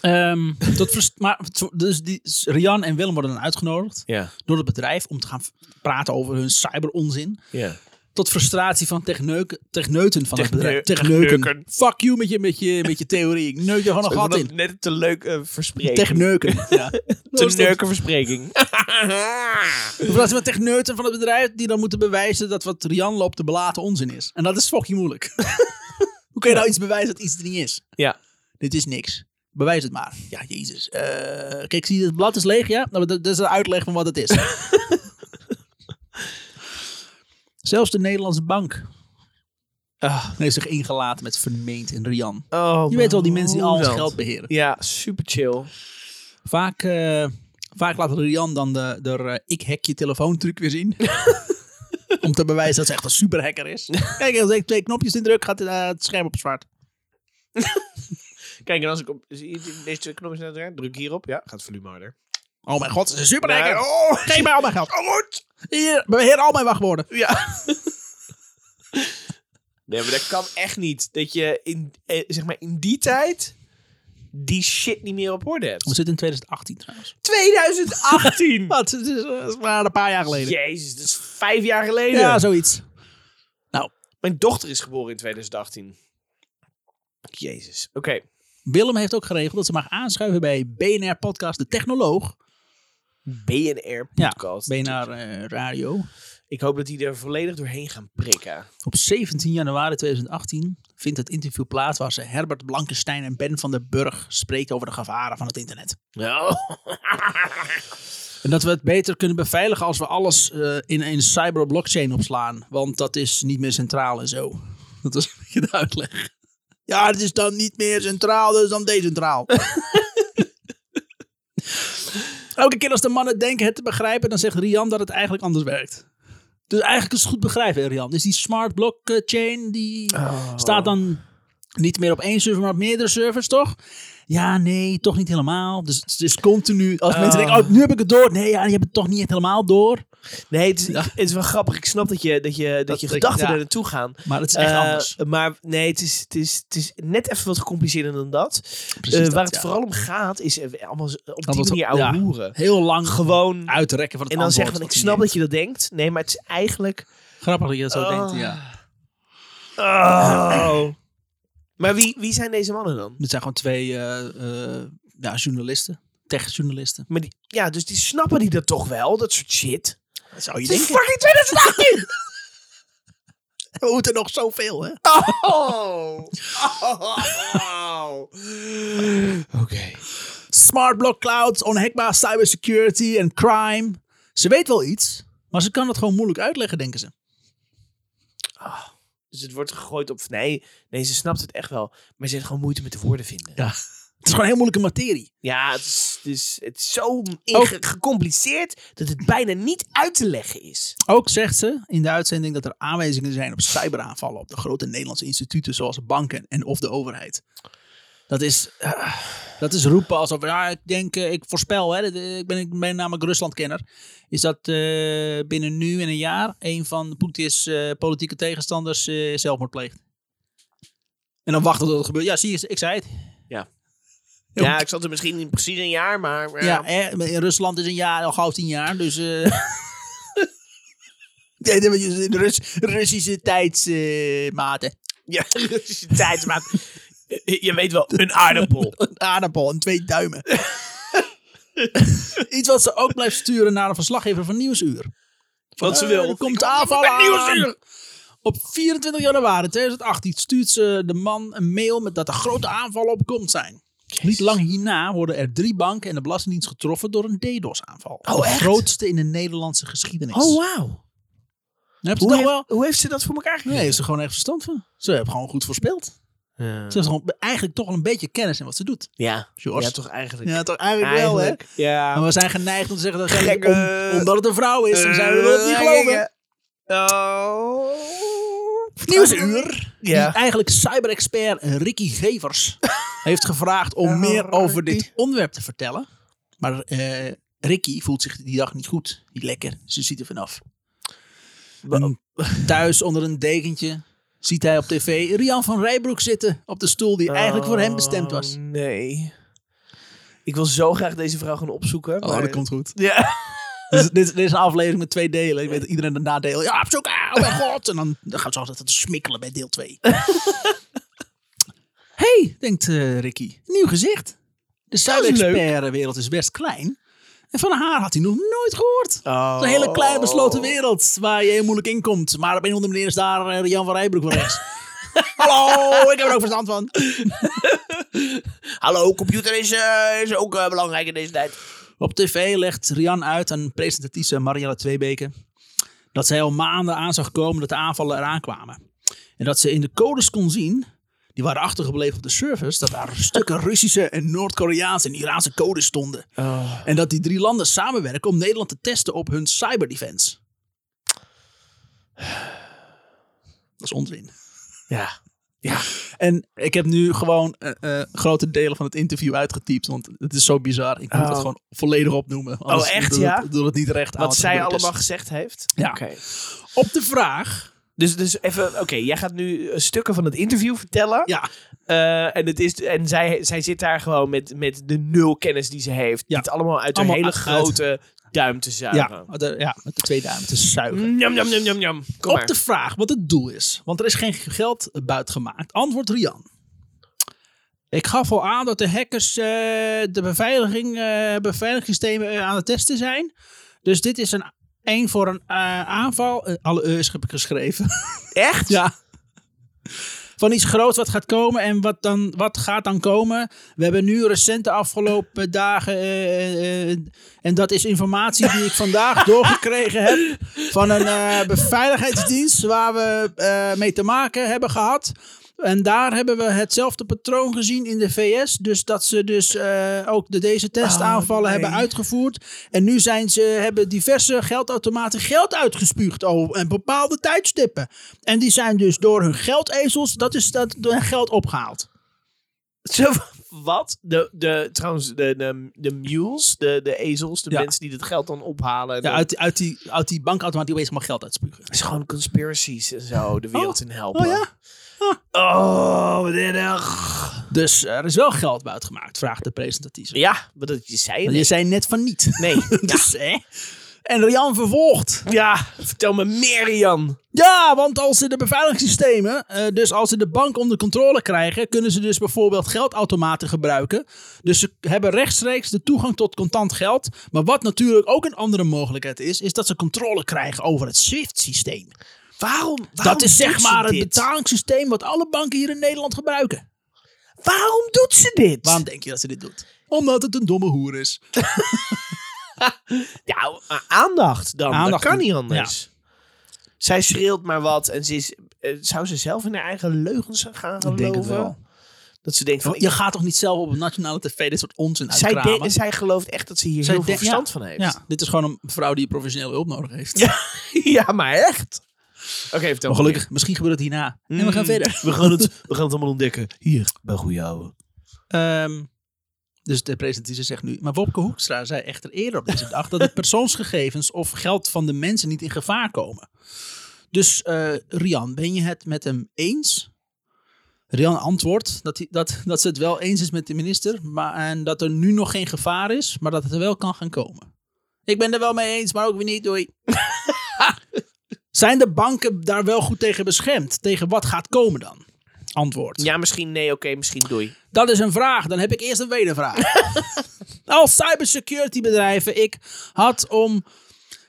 Ehm, tot vers- maar, zo- dus die, Rian en Willem worden dan uitgenodigd Ja. door het bedrijf om te gaan f- praten over hun cyberonzin. Ja. Tot frustratie van techneuken, techneuten van Techneu- het bedrijf. Techneuken. techneuken. Fuck you met je, met je, met je theorie. Ik neuk je gewoon een gat in. Net te leuk eh, verspreken. Techneuken. Ja. te leuke verspreking. Frustratie van techneuten van het bedrijf die dan moeten bewijzen dat wat Rian loopt de belaten onzin is. En dat is fucking moeilijk. Hoe Hoe kun je nou iets bewijzen dat iets er niet is? Ja. Dit is niks. Bewijs het maar. Ja, jezus. Eh, kijk, zie je, het blad is leeg, ja? Nou, dat, dat is een uitleg van wat het is. Zelfs de Nederlandse bank Ah, heeft zich ingelaten met Vermeend en Rian. oh, Je weet wel, die mensen die al ons Roland. geld beheren. Ja, super chill. Vaak, eh, vaak laat Rian dan de, de eh, ik hack je telefoon truc weer zien. Om te bewijzen dat ze echt een superhacker is. Kijk, als ik twee knopjes indruk, gaat eh, het scherm op zwart. Kijk, en als ik op zie je deze twee knopjes naar elkaar druk hierop, ja, gaat het volume harder. Oh mijn god, ze is een superhacker. Nee. Oh, geef mij al mijn geld. Oh, goed. Hier, beheer al mijn wachtwoorden. Ja. nee, maar dat kan echt niet. Dat je in, eh, zeg maar in die tijd die shit niet meer op orde We hebt. zitten in 2018 trouwens. 2018! Wat? Het is, eh, het is maar een paar jaar geleden. Jezus, dat is vijf jaar geleden. Ja, zoiets. Mijn dochter is geboren in 2018. Jezus. Oké. Willem heeft ook geregeld dat ze mag aanschuiven bij BNR Podcast De Technoloog. BNR podcast. BNR eh, Radio. Ik hoop dat die er volledig doorheen gaan prikken. Op 17 januari 2018 vindt het interview plaats waar ze Herbert Blankenstein en Ben van den Burg spreekt over de gevaren van het internet. Nou. En dat we het beter kunnen beveiligen als we alles eh, in een cyberblockchain opslaan. Want dat is niet meer centraal en zo. Dat was een beetje de uitleg. Ja, het is dan niet meer centraal, dus dan decentraal. Elke keer als de mannen denken het te begrijpen, dan zegt Rian dat het eigenlijk anders werkt. Dus eigenlijk is het goed begrijpen, hè, Rian. Dus die smart blockchain, die staat dan niet meer op één server, maar op meerdere servers, toch? Ja, nee, toch niet helemaal. Dus het is continu. Als mensen denken, oh, nu heb ik het door. Nee, ja, je hebt het toch niet echt helemaal door. Nee, het is, het is wel grappig. Ik snap dat je, dat je, dat Dat je ik- gedachten ja. er naartoe gaan. Maar het is echt Eh, anders. Maar nee, het is, het, is, het is net even wat gecompliceerder dan dat. Precies Eh, dat, waar het ja. vooral om gaat, is eh, allemaal z- op die Allemaal zo- manier ouwe ja. hoeren. Heel lang Gewoon. uitrekken van het En dan zeggen antwoord van, ik wat hij snap neemt. dat je dat denkt. Nee, maar het is eigenlijk... Grappig dat je dat zo Oh. denkt, ja. Oh. Maar wie, wie zijn deze mannen dan? Het zijn gewoon twee eh, eh, ja, journalisten. Tech-journalisten. Maar die, ja, dus die snappen die dat toch wel, dat soort shit. Zou Oh, je Het is denken? fucking 2018! We moeten nog zoveel, hè? Oh! Oh. Oké. Smart block clouds, onhackbaar cybersecurity en crime. Ze weet wel iets, maar ze kan het gewoon moeilijk uitleggen, denken ze. Dus het wordt gegooid op... Nee, nee, ze snapt het echt wel. Maar ze heeft gewoon moeilijke met de woorden vinden. Ja. Het is gewoon heel moeilijke materie. Ja, het is, het is, het is zo inge- gecompliceerd dat het bijna niet uit te leggen is. Ook zegt ze in de uitzending dat er aanwijzingen zijn op cyberaanvallen op de grote Nederlandse instituten zoals banken en of de overheid. Dat is, eh, dat is roepen alsof, ja, ik denk, eh, ik voorspel, hè, dat, eh, ik, ben, ik ben namelijk Ruslandkenner, is dat eh, binnen nu en een jaar een van Poetin's eh, politieke tegenstanders eh, zelfmord pleegt. En dan wachten tot het gebeurt. Ja, zie je, ik zei het. Ja, Ja, ik zat er misschien in precies een jaar, maar... eh, Ja, eh, in Rusland is een jaar, al gauw tien jaar, dus... eh Nee, dat is in Rus- Russische eh, tijdsmaten. Ja, Russische tijdsmaat. Eh, Je weet wel, een aardappel. een aardappel en twee duimen. Iets wat ze ook blijft sturen naar een verslaggever van Nieuwsuur. Wat ze Eh, wil. Er komt aanval met aan. Nieuwsuur. Op 24 januari 2018 stuurt ze de man een mail met dat er grote aanvallen op komt zijn. Niet lang hierna worden er drie banken en de Belastingdienst getroffen door een DDoS-aanval. de Oh, echt? grootste in de Nederlandse geschiedenis. Oh, wauw. Dan hebben ze Hoe, toch wel? heeft- hoe heeft ze dat voor elkaar Nee, gekregen? heeft ze gewoon echt verstand van. Ze heeft gewoon goed voorspeld. Ze heeft gewoon eigenlijk toch wel een beetje kennis in wat ze doet. Ja. George. toch eigenlijk. Ja, toch eigenlijk, wel, hè? Eigenlijk, Ja. Maar we zijn geneigd om te zeggen dat het Gek, om- eh, omdat het een vrouw is, dan zijn we wel dat het niet geloven. Oh. Nieuwsuur, Ja. die eigenlijk cyberexpert Ricky Gevers heeft gevraagd om meer over dit onderwerp te vertellen. Maar eh, Ricky voelt zich die dag niet goed, niet lekker. Ze ziet er vanaf. En thuis onder een dekentje ziet hij op tv Rian van Rijbroek zitten op de stoel die eigenlijk voor hem bestemd was. Oh, Nee. Ik wil zo graag deze vrouw gaan opzoeken. Oh, maar- dat komt goed. Ja. Dus dit, dit is een aflevering met twee delen. Ik weet dat iedereen een nadeel. Ja, op zoek. ah, Oh mijn god. En dan, dan gaan ze altijd te smikkelen bij deel 2. hey, denkt eh, Ricky. Nieuw gezicht. De cyber-expert-wereld is best klein. En van haar had hij nog nooit gehoord. Het is Een Oh. hele klein besloten wereld waar je heel moeilijk in komt. Maar op een of andere manier is daar eh, Jan van Rijbroek wel eens. Hallo, ik heb er ook verstand van. Oh. Hallo, computer is, eh, is ook eh, belangrijk in deze tijd. Op tv legt Rian uit aan presentatrice Marielle Tweebeke dat zij al maanden aan zag komen dat de aanvallen eraan kwamen. En dat ze in de codes kon zien, die waren achtergebleven op de servers, dat daar stukken Russische en Noord-Koreaanse en Iraanse codes stonden. En dat die drie landen samenwerken om Nederland te testen op hun cyberdefense. Dat is onzin. Ja. En ik heb nu gewoon eh, eh, grote delen van het interview uitgetypt. Want het is zo bizar. Ik moet Oh. het gewoon volledig opnoemen. anders echt, doe ja? Het, doe het niet recht aan, Wat want zij dan word ik allemaal gezegd heeft. Ja. Oké. best- Op de vraag. Dus, dus even, oké, jij gaat nu eh, stukken van het interview vertellen. Ja, Eh, en het is, en zij, zij zit daar gewoon met, met de nul kennis die ze heeft. Ja. Dit allemaal uit Allemaal haar hele uit- grote duim te ja, zuigen. de, ja, met de twee duimen te zuigen. Njam, njam, njam, njam, njam. Mm, Kom Op maar. de vraag wat het doel is. Want er is geen geld buitgemaakt. Antwoord Rian. Ik gaf al aan dat de hackers eh, de beveiliging, eh, beveiligingssystemen eh, aan het testen zijn. Dus dit is een, een voor een eh, aanval. Eh, alle eus heb ik geschreven. Echt? Ja. Van iets groots wat gaat komen en wat, dan, wat gaat dan komen. We hebben nu recent de afgelopen dagen. eh, eh, eh, en dat is informatie die ik vandaag doorgekregen heb. Van een eh, beveiligheidsdienst waar we eh, mee te maken hebben gehad. En daar hebben we hetzelfde patroon gezien in de VS. Dus dat ze dus eh, ook de, deze testaanvallen nee. hebben uitgevoerd. En nu zijn ze, hebben diverse geldautomaten geld uitgespuugd over en bepaalde tijdstippen. En die zijn dus door hun geldezels, dat is dat, door hun geld opgehaald. Zo, wat? De, de, trouwens, de, de, de mules, de, de ezels, de Ja. mensen die dat geld dan ophalen. en Ja, dan- uit, uit, die, uit die bankautomaat die opeens maar geld uitspugen. Het is gewoon conspiracies en zo de wereld in helpen. Oh ja? Oh, wat erg. Dus er is wel geld buitgemaakt, vraagt de presentatrice. Ja, wat dat je zei. Want net. Je zei net van niet. Nee. Dus, hè? En Rian vervolgt. Ja, vertel me meer, Jan. Ja, want als ze de beveiligingssystemen, eh, dus als ze de bank onder controle krijgen, kunnen ze dus bijvoorbeeld geldautomaten gebruiken. Dus ze hebben rechtstreeks de toegang tot contant geld. Maar wat natuurlijk ook een andere mogelijkheid is, is dat ze controle krijgen over het SWIFT-systeem. Waarom? Dat is zeg maar het een betalingssysteem wat alle banken hier in Nederland gebruiken. Waarom doet ze dit? Waarom denk je dat ze dit doet? Omdat het een domme hoer is. Ja, a- aandacht dan. Aandacht. Dat kan niet anders. Zij schreeuwt maar wat en ze is, eh, zou ze zelf in haar eigen leugens gaan geloven? Dat ze denkt van... Je gaat toch niet zelf op nationale tv dit soort onzin ik- zij, uitkramen? de- zij gelooft echt dat ze hier Nou, Zij heel veel denkt- ja, verstand van heeft. Ja, dit is gewoon een vrouw die professionele hulp nodig heeft. Ja, ja, maar echt. Oké, vertel Mm. Maar gelukkig, misschien gebeurt het hierna. Mm. En we gaan verder. We gaan, het, we gaan het allemaal ontdekken. Hier, bij Goeie Ouwe. Ehm, dus de presentatie zegt nu. Maar Wopke Hoekstra zei echter eerder op deze dag dat de persoonsgegevens of geld van de mensen niet in gevaar komen. Dus eh, Rian, ben je het met hem eens? Rian antwoordt dat, hij, dat, dat ze het wel eens is met de minister. Maar, en dat er nu nog geen gevaar is, maar dat het er wel kan gaan komen. Ik ben er wel mee eens, maar ook weer niet, doei. Zijn de banken daar wel goed tegen beschermd? Tegen wat gaat komen dan? Antwoord. Ja, misschien nee, oké, misschien doei. Dat is een vraag. Dan heb ik eerst een wedervraag. Als cybersecurity bedrijven, ik had om.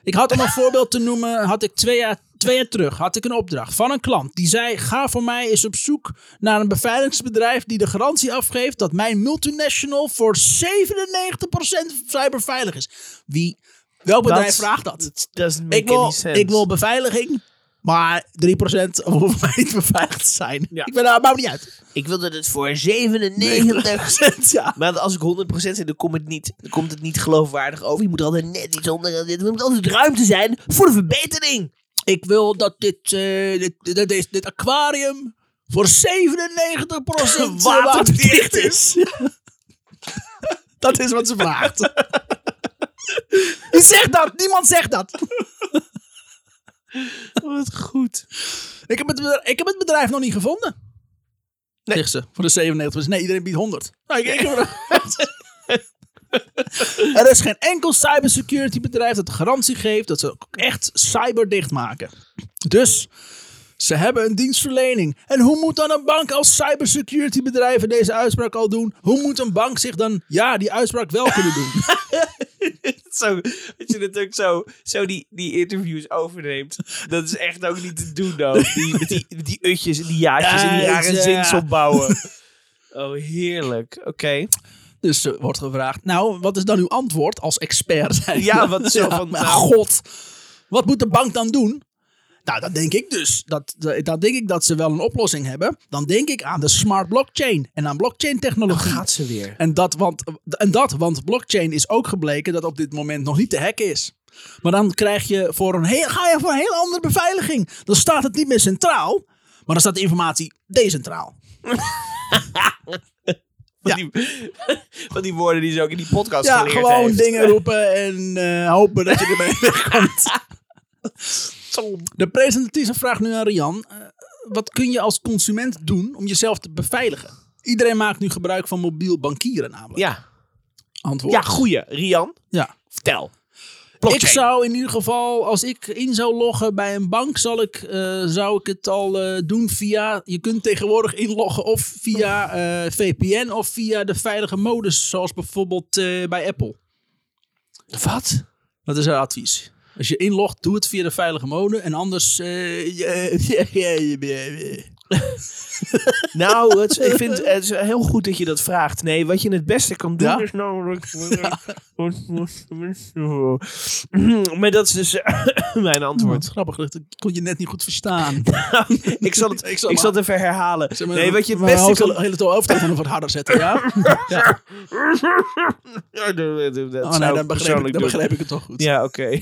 Ik had om een voorbeeld te noemen, had ik twee jaar, twee jaar terug had ik een opdracht van een klant. Die zei, ga voor mij eens op zoek naar een beveiligingsbedrijf die de garantie afgeeft dat mijn multinational voor 97% cyberveilig is. Wie, welk bedrijf Dat- vraagt dat? Doesn't make Ik wil, any sense. ik wil beveiliging, maar 3% hoeft mij niet beveiligd te zijn. Ja. Ik ben daar, maakt me niet uit. ik wil dat het voor 97... ja. Maar als ik 100% zit, dan komt het, niet, dan komt het niet geloofwaardig over. Je moet altijd net iets onder. Er moet altijd ruimte zijn voor de verbetering. Ik wil dat dit, eh, dit, dit, dit, dit- dit aquarium voor 97% waterdicht is. dat is wat ze vraagt. Wie zegt dat? Niemand zegt dat. Wat goed. Ik heb het, bedrijf, ik heb het bedrijf nog niet gevonden. Nee. Zegt ze. Voor de 97. Nee, iedereen biedt 100. Nou, ik, ik heb er... er is geen enkel cybersecurity bedrijf dat garantie geeft dat ze ook echt cyberdicht maken. Dus ze hebben een dienstverlening. En hoe moet dan een bank als cybersecurity bedrijven deze uitspraak al doen? Hoe moet een bank zich dan, ja, die uitspraak wel kunnen doen? zo, dat je het ook zo, zo die, die interviews overneemt. Dat is echt ook niet te doen, nou. Die, met die, met die utjes en die jaartjes en die Ja, rare ja. zinsel bouwen. Oh, heerlijk. Oké. Dus er wordt gevraagd, nou, wat is dan uw antwoord als expert? zijn? Ja, wat zo van, maar nou- god, wat moet de bank dan doen? Nou, dat denk ik dus. Dat, dat, dat denk ik dat ze wel een oplossing hebben. Dan denk ik aan de smart blockchain en aan blockchain technologie. Oh, ze weer. En dat, want, en dat, want blockchain is ook gebleken dat op dit moment nog niet te hacken is. Maar dan krijg je voor een heel, ga je voor een heel andere beveiliging. Dan staat het niet meer centraal, maar dan staat de informatie decentraal. Van, die, van die woorden die ze ook in die podcast Ja, geleerd gewoon heeft. dingen roepen en eh, hopen dat je ermee wegkomt. De presentatrice vraagt nu aan Rian: eh, wat kun je als consument doen om jezelf te beveiligen? Iedereen maakt nu gebruik van mobiel bankieren, namelijk. Ja. Antwoord. ja, goeie. Rian, Ja. vertel. Ik zou in ieder geval, als ik in zou loggen bij een bank, zal ik, eh, zou ik het al eh, doen via. Je kunt tegenwoordig inloggen of via eh, VPN of via de veilige modus, zoals bijvoorbeeld eh, bij Apple. Wat? Dat is haar advies. Als je inlogt, doe het via de veilige mode. En anders. eh, je- je- je- Nou, het, is- ik vind het is heel goed dat je dat vraagt. Nee, wat je het beste kan doen Ja? is namelijk... Maar dat is dus mijn Wat antwoord. Nou, grappig, dat kon je net niet goed verstaan. Ik zal het, Nou, Ik ik zal zal het even herhalen. Zeg maar, Nee, wat je het mijn beste hoofd- kan... hele to- hoofdtelefoon nog wat harder zetten, ja? Ja, dat- dat- dat Oh zou nee, ik dan begreep, persoonlijk ik, dan doen. begreep ik het toch goed. Ja, oké.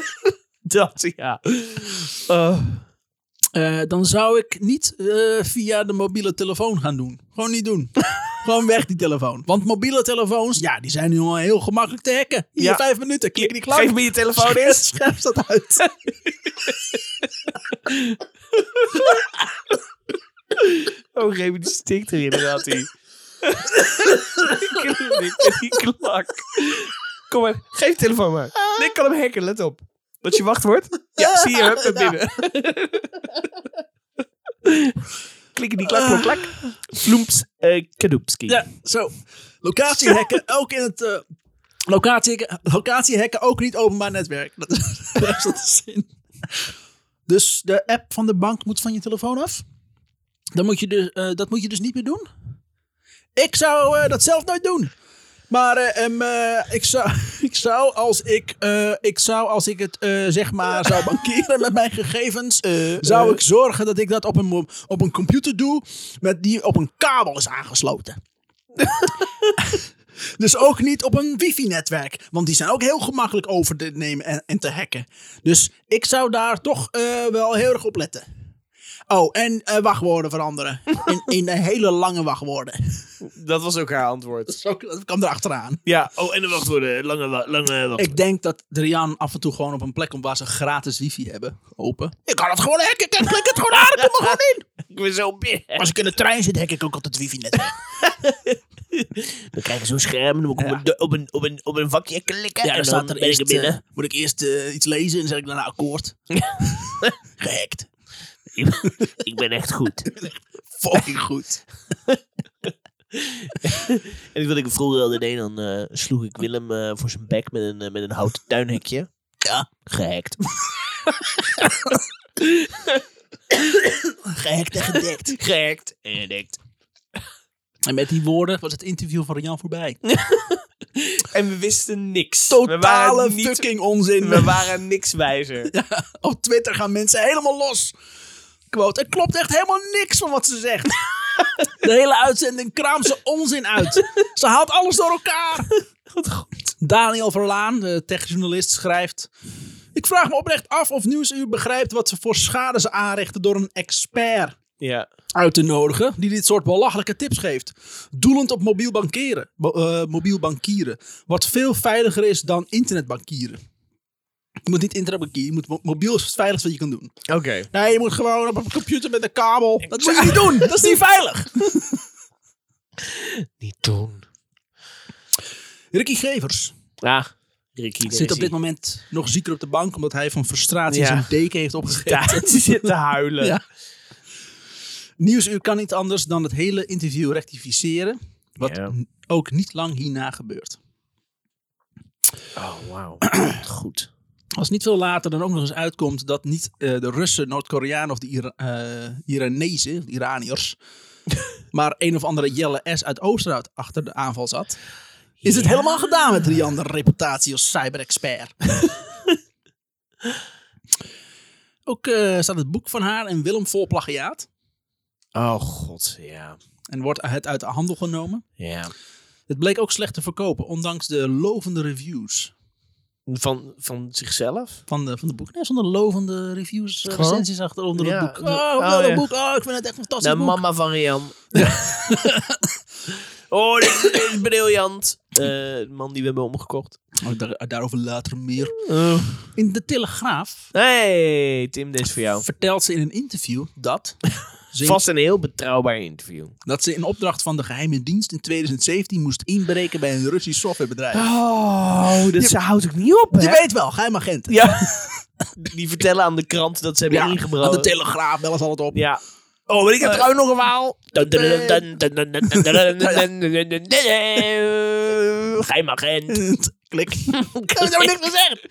dat, ja. Eh, Eh, dan zou ik niet eh, via de mobiele telefoon gaan doen. Gewoon niet doen. Gewoon weg die telefoon. Want mobiele telefoons, ja, die zijn nu al heel gemakkelijk te hacken. Hier, Ja. vijf minuten, klik die klap. geef me je telefoon eerst. Schrijf dat uit. Oh, geef me die stick er inderdaad in. die, die klak. Kom maar, geef de telefoon maar. Nee, ik kan hem hacken, let op. Wat je wachtwoord? Ja, zie je, hup, naar binnen. Klikken die klak, klak, klak. Vloemps, eh kadoepski. Ja, zo. Locatiehekken ook in het. eh locatiehekken, locatiehekken ook niet openbaar netwerk. Dat is dat is zin. Dus de app van de bank moet van je telefoon af. Dan moet je dus, eh, dat moet je dus niet meer doen. Ik zou eh, dat zelf nooit doen. Maar eh, em, eh, ik, zou, ik, zou als ik, eh, ik zou als ik het eh, zeg maar zou bankieren met mijn gegevens, zou ik zorgen dat ik dat op een, mo- op een computer doe met die op een kabel is aangesloten. dus ook niet op een wifi-netwerk, want die zijn ook heel gemakkelijk over te nemen en, en te hacken. Dus ik zou daar toch eh, wel heel erg op letten. Oh, en eh, wachtwoorden veranderen. In, in eh, hele lange wachtwoorden. Dat was ook haar antwoord. Zo, dat kwam erachteraan. Ja, oh, en de wachtwoorden. Lange, wa- lange wachtwoorden. Ik denk dat Drian af en toe gewoon op een plek komt waar ze gratis wifi hebben. Open. Ik kan het gewoon hacken. Ik klik het gewoon aan. Ik kom er gewoon in. Ik ben zo binnen. Als ik in de trein zit, hack ik ook altijd wifi-netwerk. Dan krijg je zo'n scherm, dan moet ik Ja. op, een, op, een, op, een, op een vakje klikken. Ja, en dan staat er ben ik eerst, er binnen. eh, moet ik eerst eh, iets lezen en dan zet ik daarna akkoord. Gehackt. eh, ik ben echt goed. Fucking goed. En wat ik vroeger altijd deed, dan eh, sloeg ik Willem eh, voor zijn bek met een, eh, met een houten tuinhekje. Ja. Gehackt. Gehackt en gedekt. Gehackt. En je denkt... En met die woorden was het interview van Rian voorbij. En we wisten niks. Totale fucking onzin. waren niks wijzer. Op Twitter gaan mensen helemaal los. Quote, het klopt echt helemaal niks van wat ze zegt. De hele uitzending kraamt ze onzin uit. Ze haalt alles door elkaar. Daniel Verlaan, de techjournalist, schrijft... Ik vraag me oprecht af of Nieuwsuur begrijpt wat ze voor schade ze aanrichten door een expert Ja. uit te nodigen die dit soort belachelijke tips geeft. Doelend op mobiel bankieren, bo- eh, mobiel bankieren wat veel veiliger is dan internetbankieren. Je moet niet internetbankieren, je moet mo- mobiel is het veiligste wat je kan doen. Oké. Nee, je moet gewoon op een computer met een kabel. Dat moet je niet doen, dat is niet veilig. Niet doen. Ricky Gevers Ah. Ricky zit op dit moment nog zieker op de bank omdat hij van frustratie Ja. zijn deken heeft opgegeven. zit te huilen. Ja. Nieuwsuur kan niet anders dan het hele interview rectificeren. Wat Ja. n- ook niet lang hierna gebeurt. Oh, wauw. Goed. Als niet veel later dan ook nog eens uitkomt dat niet eh, de Russen, Noord-Koreanen of de Ira eh, Iranezen, of de Iraniërs, maar een of andere jelle S uit Oosterhout achter de aanval zat, is het Ja. helemaal gedaan met die andere reputatie als cyberexpert. ook eh, staat het boek van haar en Willem vol plagiaat Oh, god, ja. en wordt het uit de handel genomen. Ja. Het bleek ook slecht te verkopen, ondanks de lovende reviews Van, van zichzelf? van de, van de boek. Nee, zonder lovende reviews, eh, Gewoon? recensies achter onder Ja, het boek. de- Oh, oh, wat een ja. boek. Oh, ik vind het echt een fantastisch De boek. mama van Rian. oh, dit is briljant. Eh, de man die we hebben omgekocht. Oh, daar- daarover later meer. Oh. In de Telegraaf Hey, Tim, dit is voor jou. vertelt ze in een interview dat, ze in, Vast een heel betrouwbaar interview. dat ze in opdracht van de geheime dienst in 2017 moest inbreken bij een Russisch softwarebedrijf. Oh, dat ze houdt ook niet op, Je weet wel, geheim agent. Ja. Die vertellen aan de krant dat ze hebben aan de ingebroken. Telegraaf bellen ze altijd op. ja. Oh, maar ik heb Eh. trouwens nog een verhaal. Geheimagent. Klik. Ik heb het niks gezegd.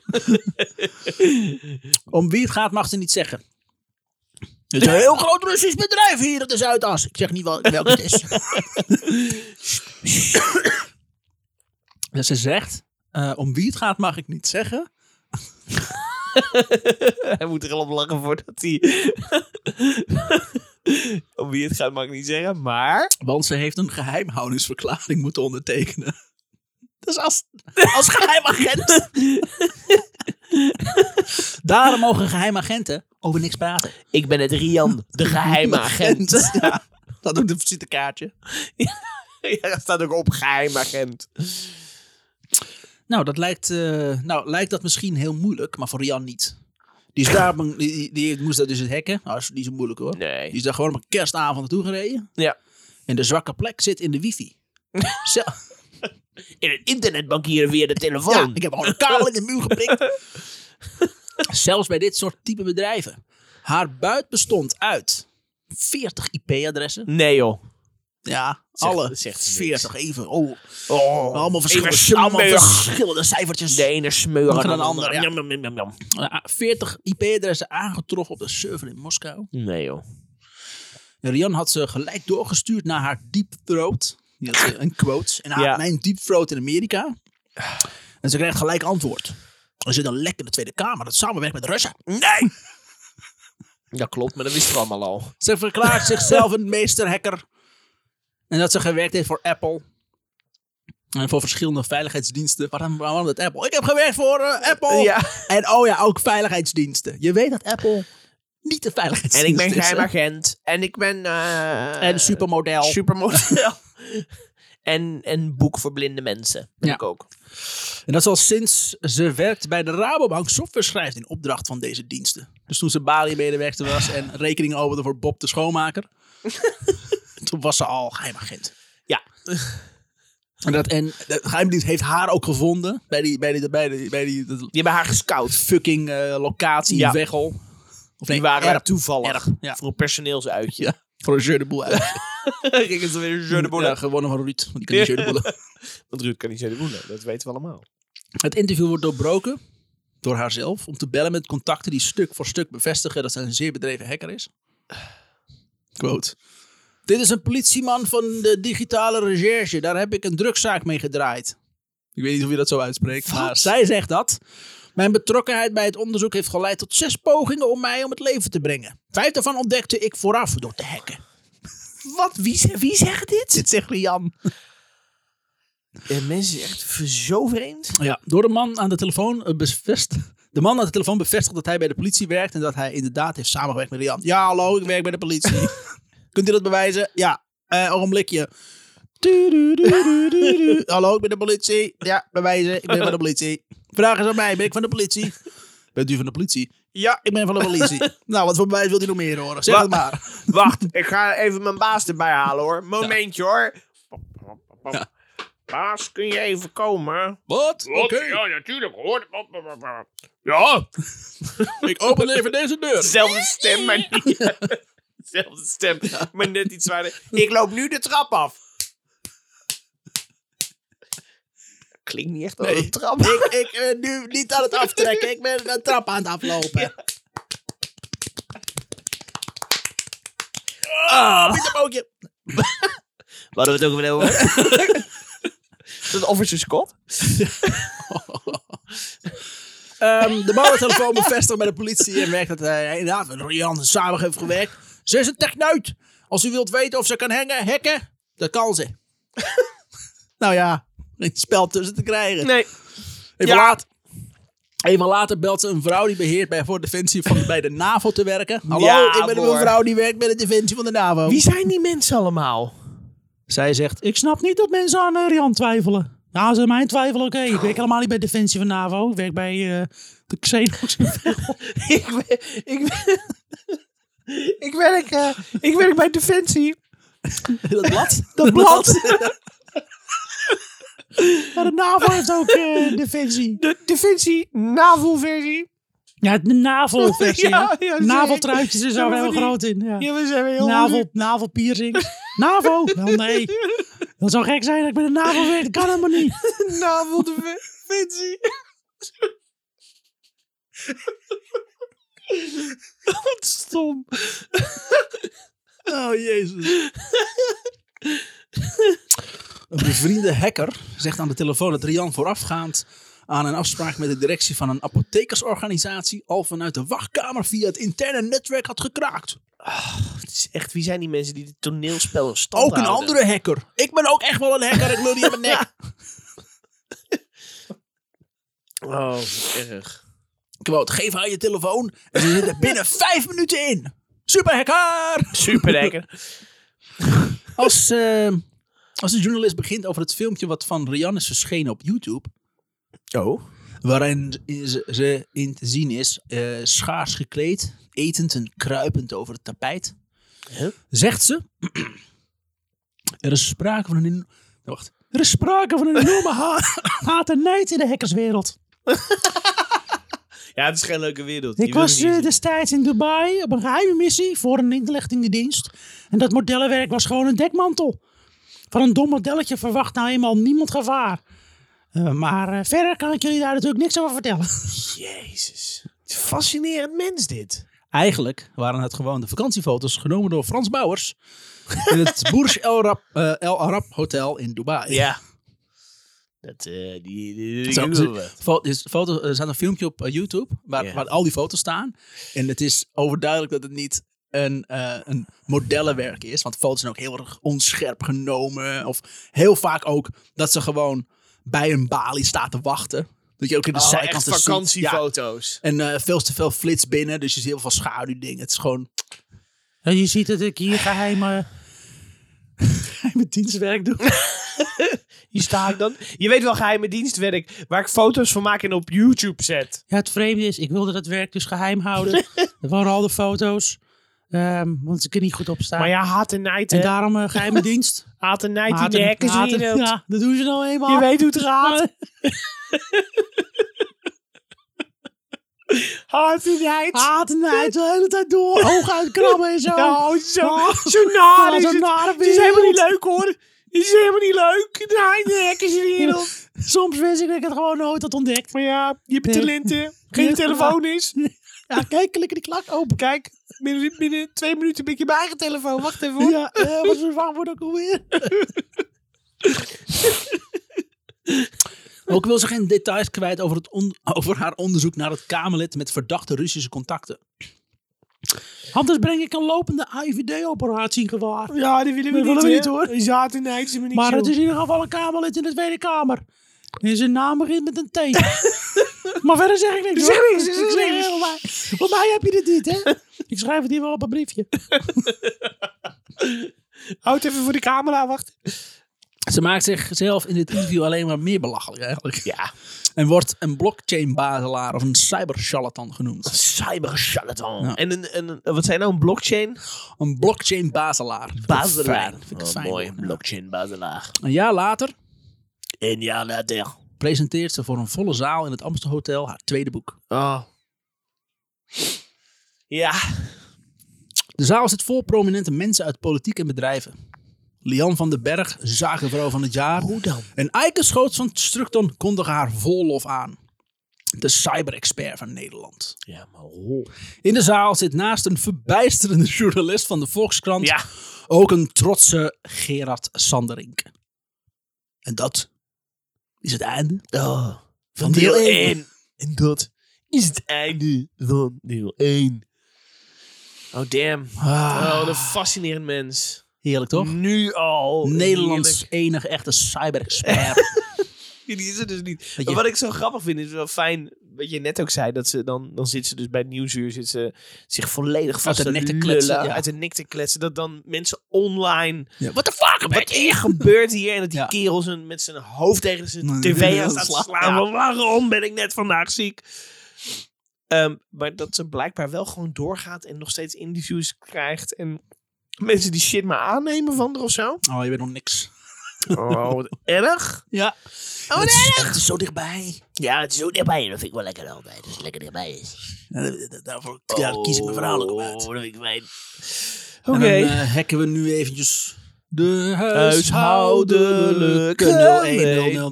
Om wie het gaat mag ze niet zeggen. Het is een heel groot Russisch bedrijf hier in de Zuidas. Ik zeg niet wel, welk het is. En Dus ze zegt, eh, om wie het gaat mag ik niet zeggen. Hij moet er al op lachen voordat hij... Om wie het gaat mag ik niet zeggen, maar... Want ze heeft een geheimhoudingsverklaring moeten ondertekenen. Dus als, als geheimagent. Daarom mogen geheimagenten over niks praten. Ik ben het Rian, de geheime agent. Ja, dat ook een visitekaartje. Ja, dat staat ook op, geheim agent. Nou, dat lijkt, eh, nou, lijkt dat misschien heel moeilijk, maar voor Rian niet. Die, is daar, op een- die, die, die moest dat dus het hekken. Nou, dat is niet zo moeilijk hoor. Die Nee. is daar gewoon op een kerstavond naartoe gereden. Ja. En de zwakke plek zit in de wifi. Zo, In het internetbankieren via de ja, telefoon. ik heb al een kabel in de muur geprikt. Zelfs bij dit soort type bedrijven. Haar buit bestond uit 40 IP-adressen. Nee joh. Ja, Zegt- alle zegt niks. 40 even. Oh, Oh, allemaal verschillende, even allemaal smeuig. verschillende cijfertjes. De ene smeuren Moeten dan dan de de andere. ander, ja. Jam, jam, jam, jam. Eh, 40 IP-adressen aangetroffen op de server in Moskou. Nee joh. En Rian had ze gelijk doorgestuurd naar haar deep throat. Die had ze in quotes. En haar, Ja. mijn deep throat in Amerika. En ze kreeg gelijk antwoord. Er zit een lek in de Tweede Kamer dat samenwerkt met de Russen. Nee! Dat klopt, maar dat wisten we allemaal al. Ze verklaart zichzelf een meesterhacker. En dat ze gewerkt heeft voor Apple. En voor verschillende veiligheidsdiensten. Waarom, waarom dat Apple? Ik heb gewerkt voor eh, Apple. Ja. En oh ja, ook veiligheidsdiensten. Je weet dat Apple niet de En veiligheidsdienst ik ben is, hè? geheimagent. En ik ben... eh, En supermodel. Supermodel. en een boek voor blinde mensen. Ben Ja. ik ook. en dat is al sinds ze werkt bij de Rabobank software schrijft in opdracht van deze diensten. Dus toen ze Bali-medewerkster was en rekeningen opende voor Bob de schoonmaker. toen was ze al geheimagent. Ja. En, dat, en de geheimdienst heeft haar ook gevonden bij die, bij die, bij die, bij die, dat Die hebben haar gescout. fucking eh, locatie Ja. in Weghel. Of Die waren daar Erp. toevallig. Erp, ja. Voor een personeelsuitje. Ja. Voor een jeu de boel uit. Gingen ze weer een jeu de boel. Ja, gewonnen van Ruud, want die kan niet jeu de boel Want Ruud kan niet jeu de boel. Dat weten we allemaal. Het interview wordt doorbroken door haarzelf om te bellen met contacten die stuk voor stuk bevestigen dat zij een zeer bedreven hacker is. Quote. Dit is een politieman van de digitale recherche. Daar heb ik een drugszaak mee gedraaid. Ik weet niet hoe je dat zo uitspreekt, maar zij zegt dat. Mijn betrokkenheid bij het onderzoek heeft geleid tot zes pogingen om mij om het leven te brengen. Vijf daarvan ontdekte ik vooraf door te hacken. Wat? Wie, ze- wie zegt dit? Dit zegt Rian. Eh, mensen is echt v- zo vreemd. Ja, door de man aan de telefoon eh, bevestigt. De man aan de telefoon bevestigt dat hij bij de politie werkt en dat hij inderdaad heeft samengewerkt met Rian. Ja, hallo, ik werk bij de politie. Kunt u dat bewijzen? Ja, Eh ogenblikje. Tudududududu. hallo, ik ben de politie. Ja, bewijzen, ik ben van de politie. Vraag eens aan mij, ben ik van de politie? Bent u van de politie? Ja, ik ben van de politie. nou, wat voor bewijs wilt u nog meer horen? Zeg het maar. Wacht, ik ga even mijn baas erbij halen hoor. Momentje hoor. Ja. Baas, kun je even komen? Wat? Oké, natuurlijk hoor. ja. ik open even deze deur. Zelfde stem, maar niet. Zelfde stem, maar net iets zwaarder. Ik loop nu de trap af. klinkt niet echt als Nee. een trap. ik ik ben nu niet aan het aftrekken. Ik ben een trap aan het aflopen. Ah, Pieterbootje. Waar hadden we het ook weer over? Is dat Officer Scott? Ehm, de mannentelefoon bevestigt bij de politie en merkt dat hij inderdaad met Rian samen heeft gewerkt. Ze is een techneut. Als u wilt weten of ze kan hangen, hacken, dat kan ze. nou ja, geen spel tussen te krijgen. Nee. Even, Ja. laat, even later belt ze een vrouw die beheert bij, voor Defensie van, bij de NAVO te werken. Hallo, Ja, ik ben een hoor. vrouw die werkt bij de Defensie van de NAVO. Wie zijn die mensen allemaal? Zij zegt, ik snap niet dat mensen aan eh, Rian twijfelen. Ja, ze aan mij twijfelen, oké. Ik werk helemaal niet bij Defensie van NAVO. Ik werk bij eh, de Xenos. ik, we- ik, we- ik, werk, eh, ik werk bij Defensie. dat blad? Dat blad. Maar de NAVO heeft ook eh, Defensie. De Defensie NAVO-versie. Ja, de NAVO-versie. Ja, ja, ja, zeker. NAVO-truitjes is Ja, daar maar heel van die- groot in. Ja. Ja, we zijn weer heel NAVO, NAVO-piercing. NAVO? Wel nee. Dat zou gek zijn dat ik bij de NAVO werk. Dat kan helemaal niet. NAVO Defensie. Wat stom. Oh, jezus. Een bevriende hacker zegt aan de telefoon dat Rian voorafgaand aan een afspraak met de directie van een apothekersorganisatie al vanuit de wachtkamer via het interne netwerk had gekraakt. Het is echt, wie zijn die mensen die dit toneelspel een stand Ook een houden? andere hacker. Ik ben ook echt wel een hacker, ik lul niet aan mijn nek. Oh, wat erg. Quote, geef haar je telefoon en ze zitten binnen vijf minuten in. Super hacker! Super lekker. Als, eh, als een journalist begint over het filmpje wat van Rian is verschenen op YouTube. Oh. Waarin ze, ze in te zien is, eh, schaars gekleed, etend en kruipend over het tapijt. Huh? Zegt ze, er is sprake van een... en- Wacht. Er is sprake van een enorme ha- haat en nijd in de hackerswereld. Ja, het is geen leuke wereld. Je Ik wil was het niet eh, zien. destijds in Dubai op een geheime missie voor een inlichtingendienst. En dat modellenwerk was gewoon een dekmantel. Van een dom modelletje verwacht nou eenmaal niemand gevaar. Eh, maar eh, verder kan ik jullie daar natuurlijk niks over vertellen. Jezus. eh, Het is een fascinerend mens dit. Eigenlijk waren het gewoon de vakantiefoto's genomen door Frans Bouwers. In het Burj El, Rab- eh, El Arab Hotel in Dubai. Ja. Dat, eh die, die, die- die- Zo, die- zo- fo- is- foto, er staat een filmpje op eh, YouTube waar, Ja. waar al die foto's staan. En het is overduidelijk dat het niet een, eh, een modellenwerk is. Want foto's zijn ook heel erg onscherp genomen. Of heel vaak ook dat ze gewoon bij een balie staat te wachten. Dat je ook in de Oh, zijkant echt een zoom- ja. vakantiefoto's. En eh, veel te veel flits binnen. Dus je ziet heel veel schaduwdingen. Het is gewoon... Je ziet dat ik hier eh, geheime... Mijn dienstwerk doen. Hier sta ik dan. Je weet wel geheime dienstwerk waar ik foto's van maak en op YouTube zet. Ja, het vreemde is, ik wilde dat werk dus geheim houden. Dat waren al de foto's. Ehm, want ze kunnen niet goed opstaan. Maar ja, haat en nijd. en hè. daarom eh, geheime dienst. Haat en nijd in Haat de en- hekken haat en- wereld. Ja, dat doen ze nou Je eenmaal. weet hoe het gaat. haat en nijd. Haat en nijd de hele tijd door. Ogen uitkrabben en zo. Nou, zo, Ah. zo naar Ah, is zo'n het. nare Het is helemaal wereld. niet leuk hoor. Het is helemaal niet leuk. Nee, de hekkerswereld. Soms wist ik dat ik het gewoon nooit had ontdekt. Maar ja, je hebt Nee. talenten. Geen Ja. telefoon is. Ja, kijk, klik die klak open. Kijk, binnen, binnen twee minuten ben ik in mijn eigen telefoon. Wacht even hoor. Ja, eh, wat is mijn wachtwoord ook alweer? Ook wil ze geen details kwijt over, het on- over haar onderzoek naar het Kamerlid met verdachte Russische contacten. Anders breng ik een lopende IVD-operatie in gewaar. Ja, die willen we Dat niet, willen we hè? niet, hoor. Die zaten in de Eindse maar niet Maar zo. het is in ieder geval een Kamerlid in de Tweede Kamer. En zijn naam begint met een T. maar verder zeg ik niks. Zeg hoor. niks, zeg Ik zeg niks. heel maar- Voor mij heb je dit niet, hè? Ik schrijf het hier wel op een briefje. Houd even voor de camera, wacht. Ze maakt zichzelf in dit interview alleen maar meer belachelijk eigenlijk. Ja. En wordt een blockchain-bazelaar of een cybercharlatan genoemd. Cyber charlatan. Ja. En een, een, een- wat zijn nou een blockchain? Een blockchain-bazelaar. Bazelaar. Vind ik Oh, fijn. mooi. Ja. Blockchain bazelaar. Een jaar later En ja, later. presenteert ze voor een volle zaal in het Amsterdam Hotel haar tweede boek. Oh. Ja. De zaal zit vol prominente mensen uit politiek en bedrijven. Lian van den Berg, zakenvrouw van het jaar. Hoe dan? En Eike Schoots van Structon kondigde haar vol lof aan. De cyberexpert van Nederland. Ja, maar rol. In de zaal zit naast een verbijsterende journalist van de Volkskrant Ja. ook een trotse Gerard Sanderink. En dat is het einde van deel deel 1. 1. En dat is het einde van deel 1. Oh, damn. Oh, wat een fascinerend mens. Ah, heerlijk toch? Nu al. Nederlands Oh, Heerlijk. enige echte cyberexpert. Die is er dus niet. Weet Maar je- wat ik zo grappig vind, is wel fijn, wat je net ook zei, dat ze dan, dan zit ze dus bij het nieuwsuur, zit ze zich volledig vast de te nek te lullen, kletsen, ja. uit de nek te kletsen, dat dan mensen online, Ja, What the fuck, wat hier gebeurt hier, en dat die Ja. kerel zijn, met zijn hoofd tegen Nee, zijn tv aan dat staat te slaat- slaan, ja. van, waarom ben ik net vandaag ziek? Ehm, maar dat ze blijkbaar wel gewoon doorgaat en nog steeds interviews krijgt en mensen die shit maar aannemen van haar of zo. Oh, je bent nog niks. Oh, wat erg. Ja. Oh, wat het, is, echt zo dichtbij. Ja, het is ook dichtbij. Dat vind ik wel lekker altijd. Dat is lekker dichtbij is. Ja, da- da- daarvoor ja, kies ik mijn verhaal ook op uit. Oh, dat vind ik fijn. Oké. En dan eh, hacken we nu eventjes de Huishoudelijke huishoudelijke 01000111110001.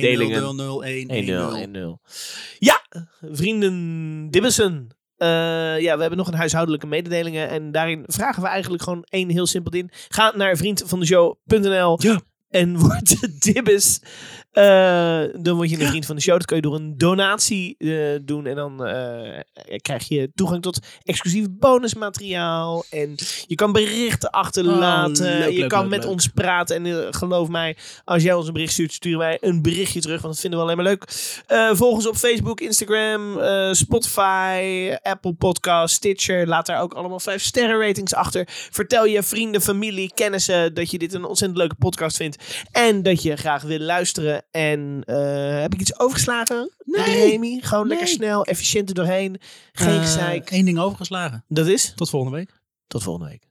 Delingen. eh, 1-0. Ja, vrienden Dibbissen. Eh, ja, we hebben nog een huishoudelijke mededelingen. En daarin vragen we eigenlijk gewoon één heel simpel ding. Ga naar vriendvandeshow.nl Ja. en word Dibbes. Eh, dan word je een vriend van de show. Dat kun je door een donatie eh, doen. En dan eh, krijg je toegang tot exclusief bonusmateriaal. En je kan berichten achterlaten. Oh, leuk, je leuk, kan leuk, met leuk. ons praten. En eh, geloof mij, als jij ons een bericht stuurt, sturen wij een berichtje terug. Want dat vinden we alleen maar leuk. Eh, volg ons op Facebook, Instagram, eh, Spotify, Apple Podcast, Stitcher. Laat daar ook allemaal 5 sterren ratings achter. Vertel je vrienden, familie, kennissen dat je dit een ontzettend leuke podcast vindt. En dat je graag wil luisteren. En eh, heb ik iets overgeslagen? Nee. Remy? Gewoon Nee. Eh. lekker snel, efficiënt er doorheen. Geen gezeik. Eén ding overgeslagen. Dat is? Tot volgende week. Tot volgende week.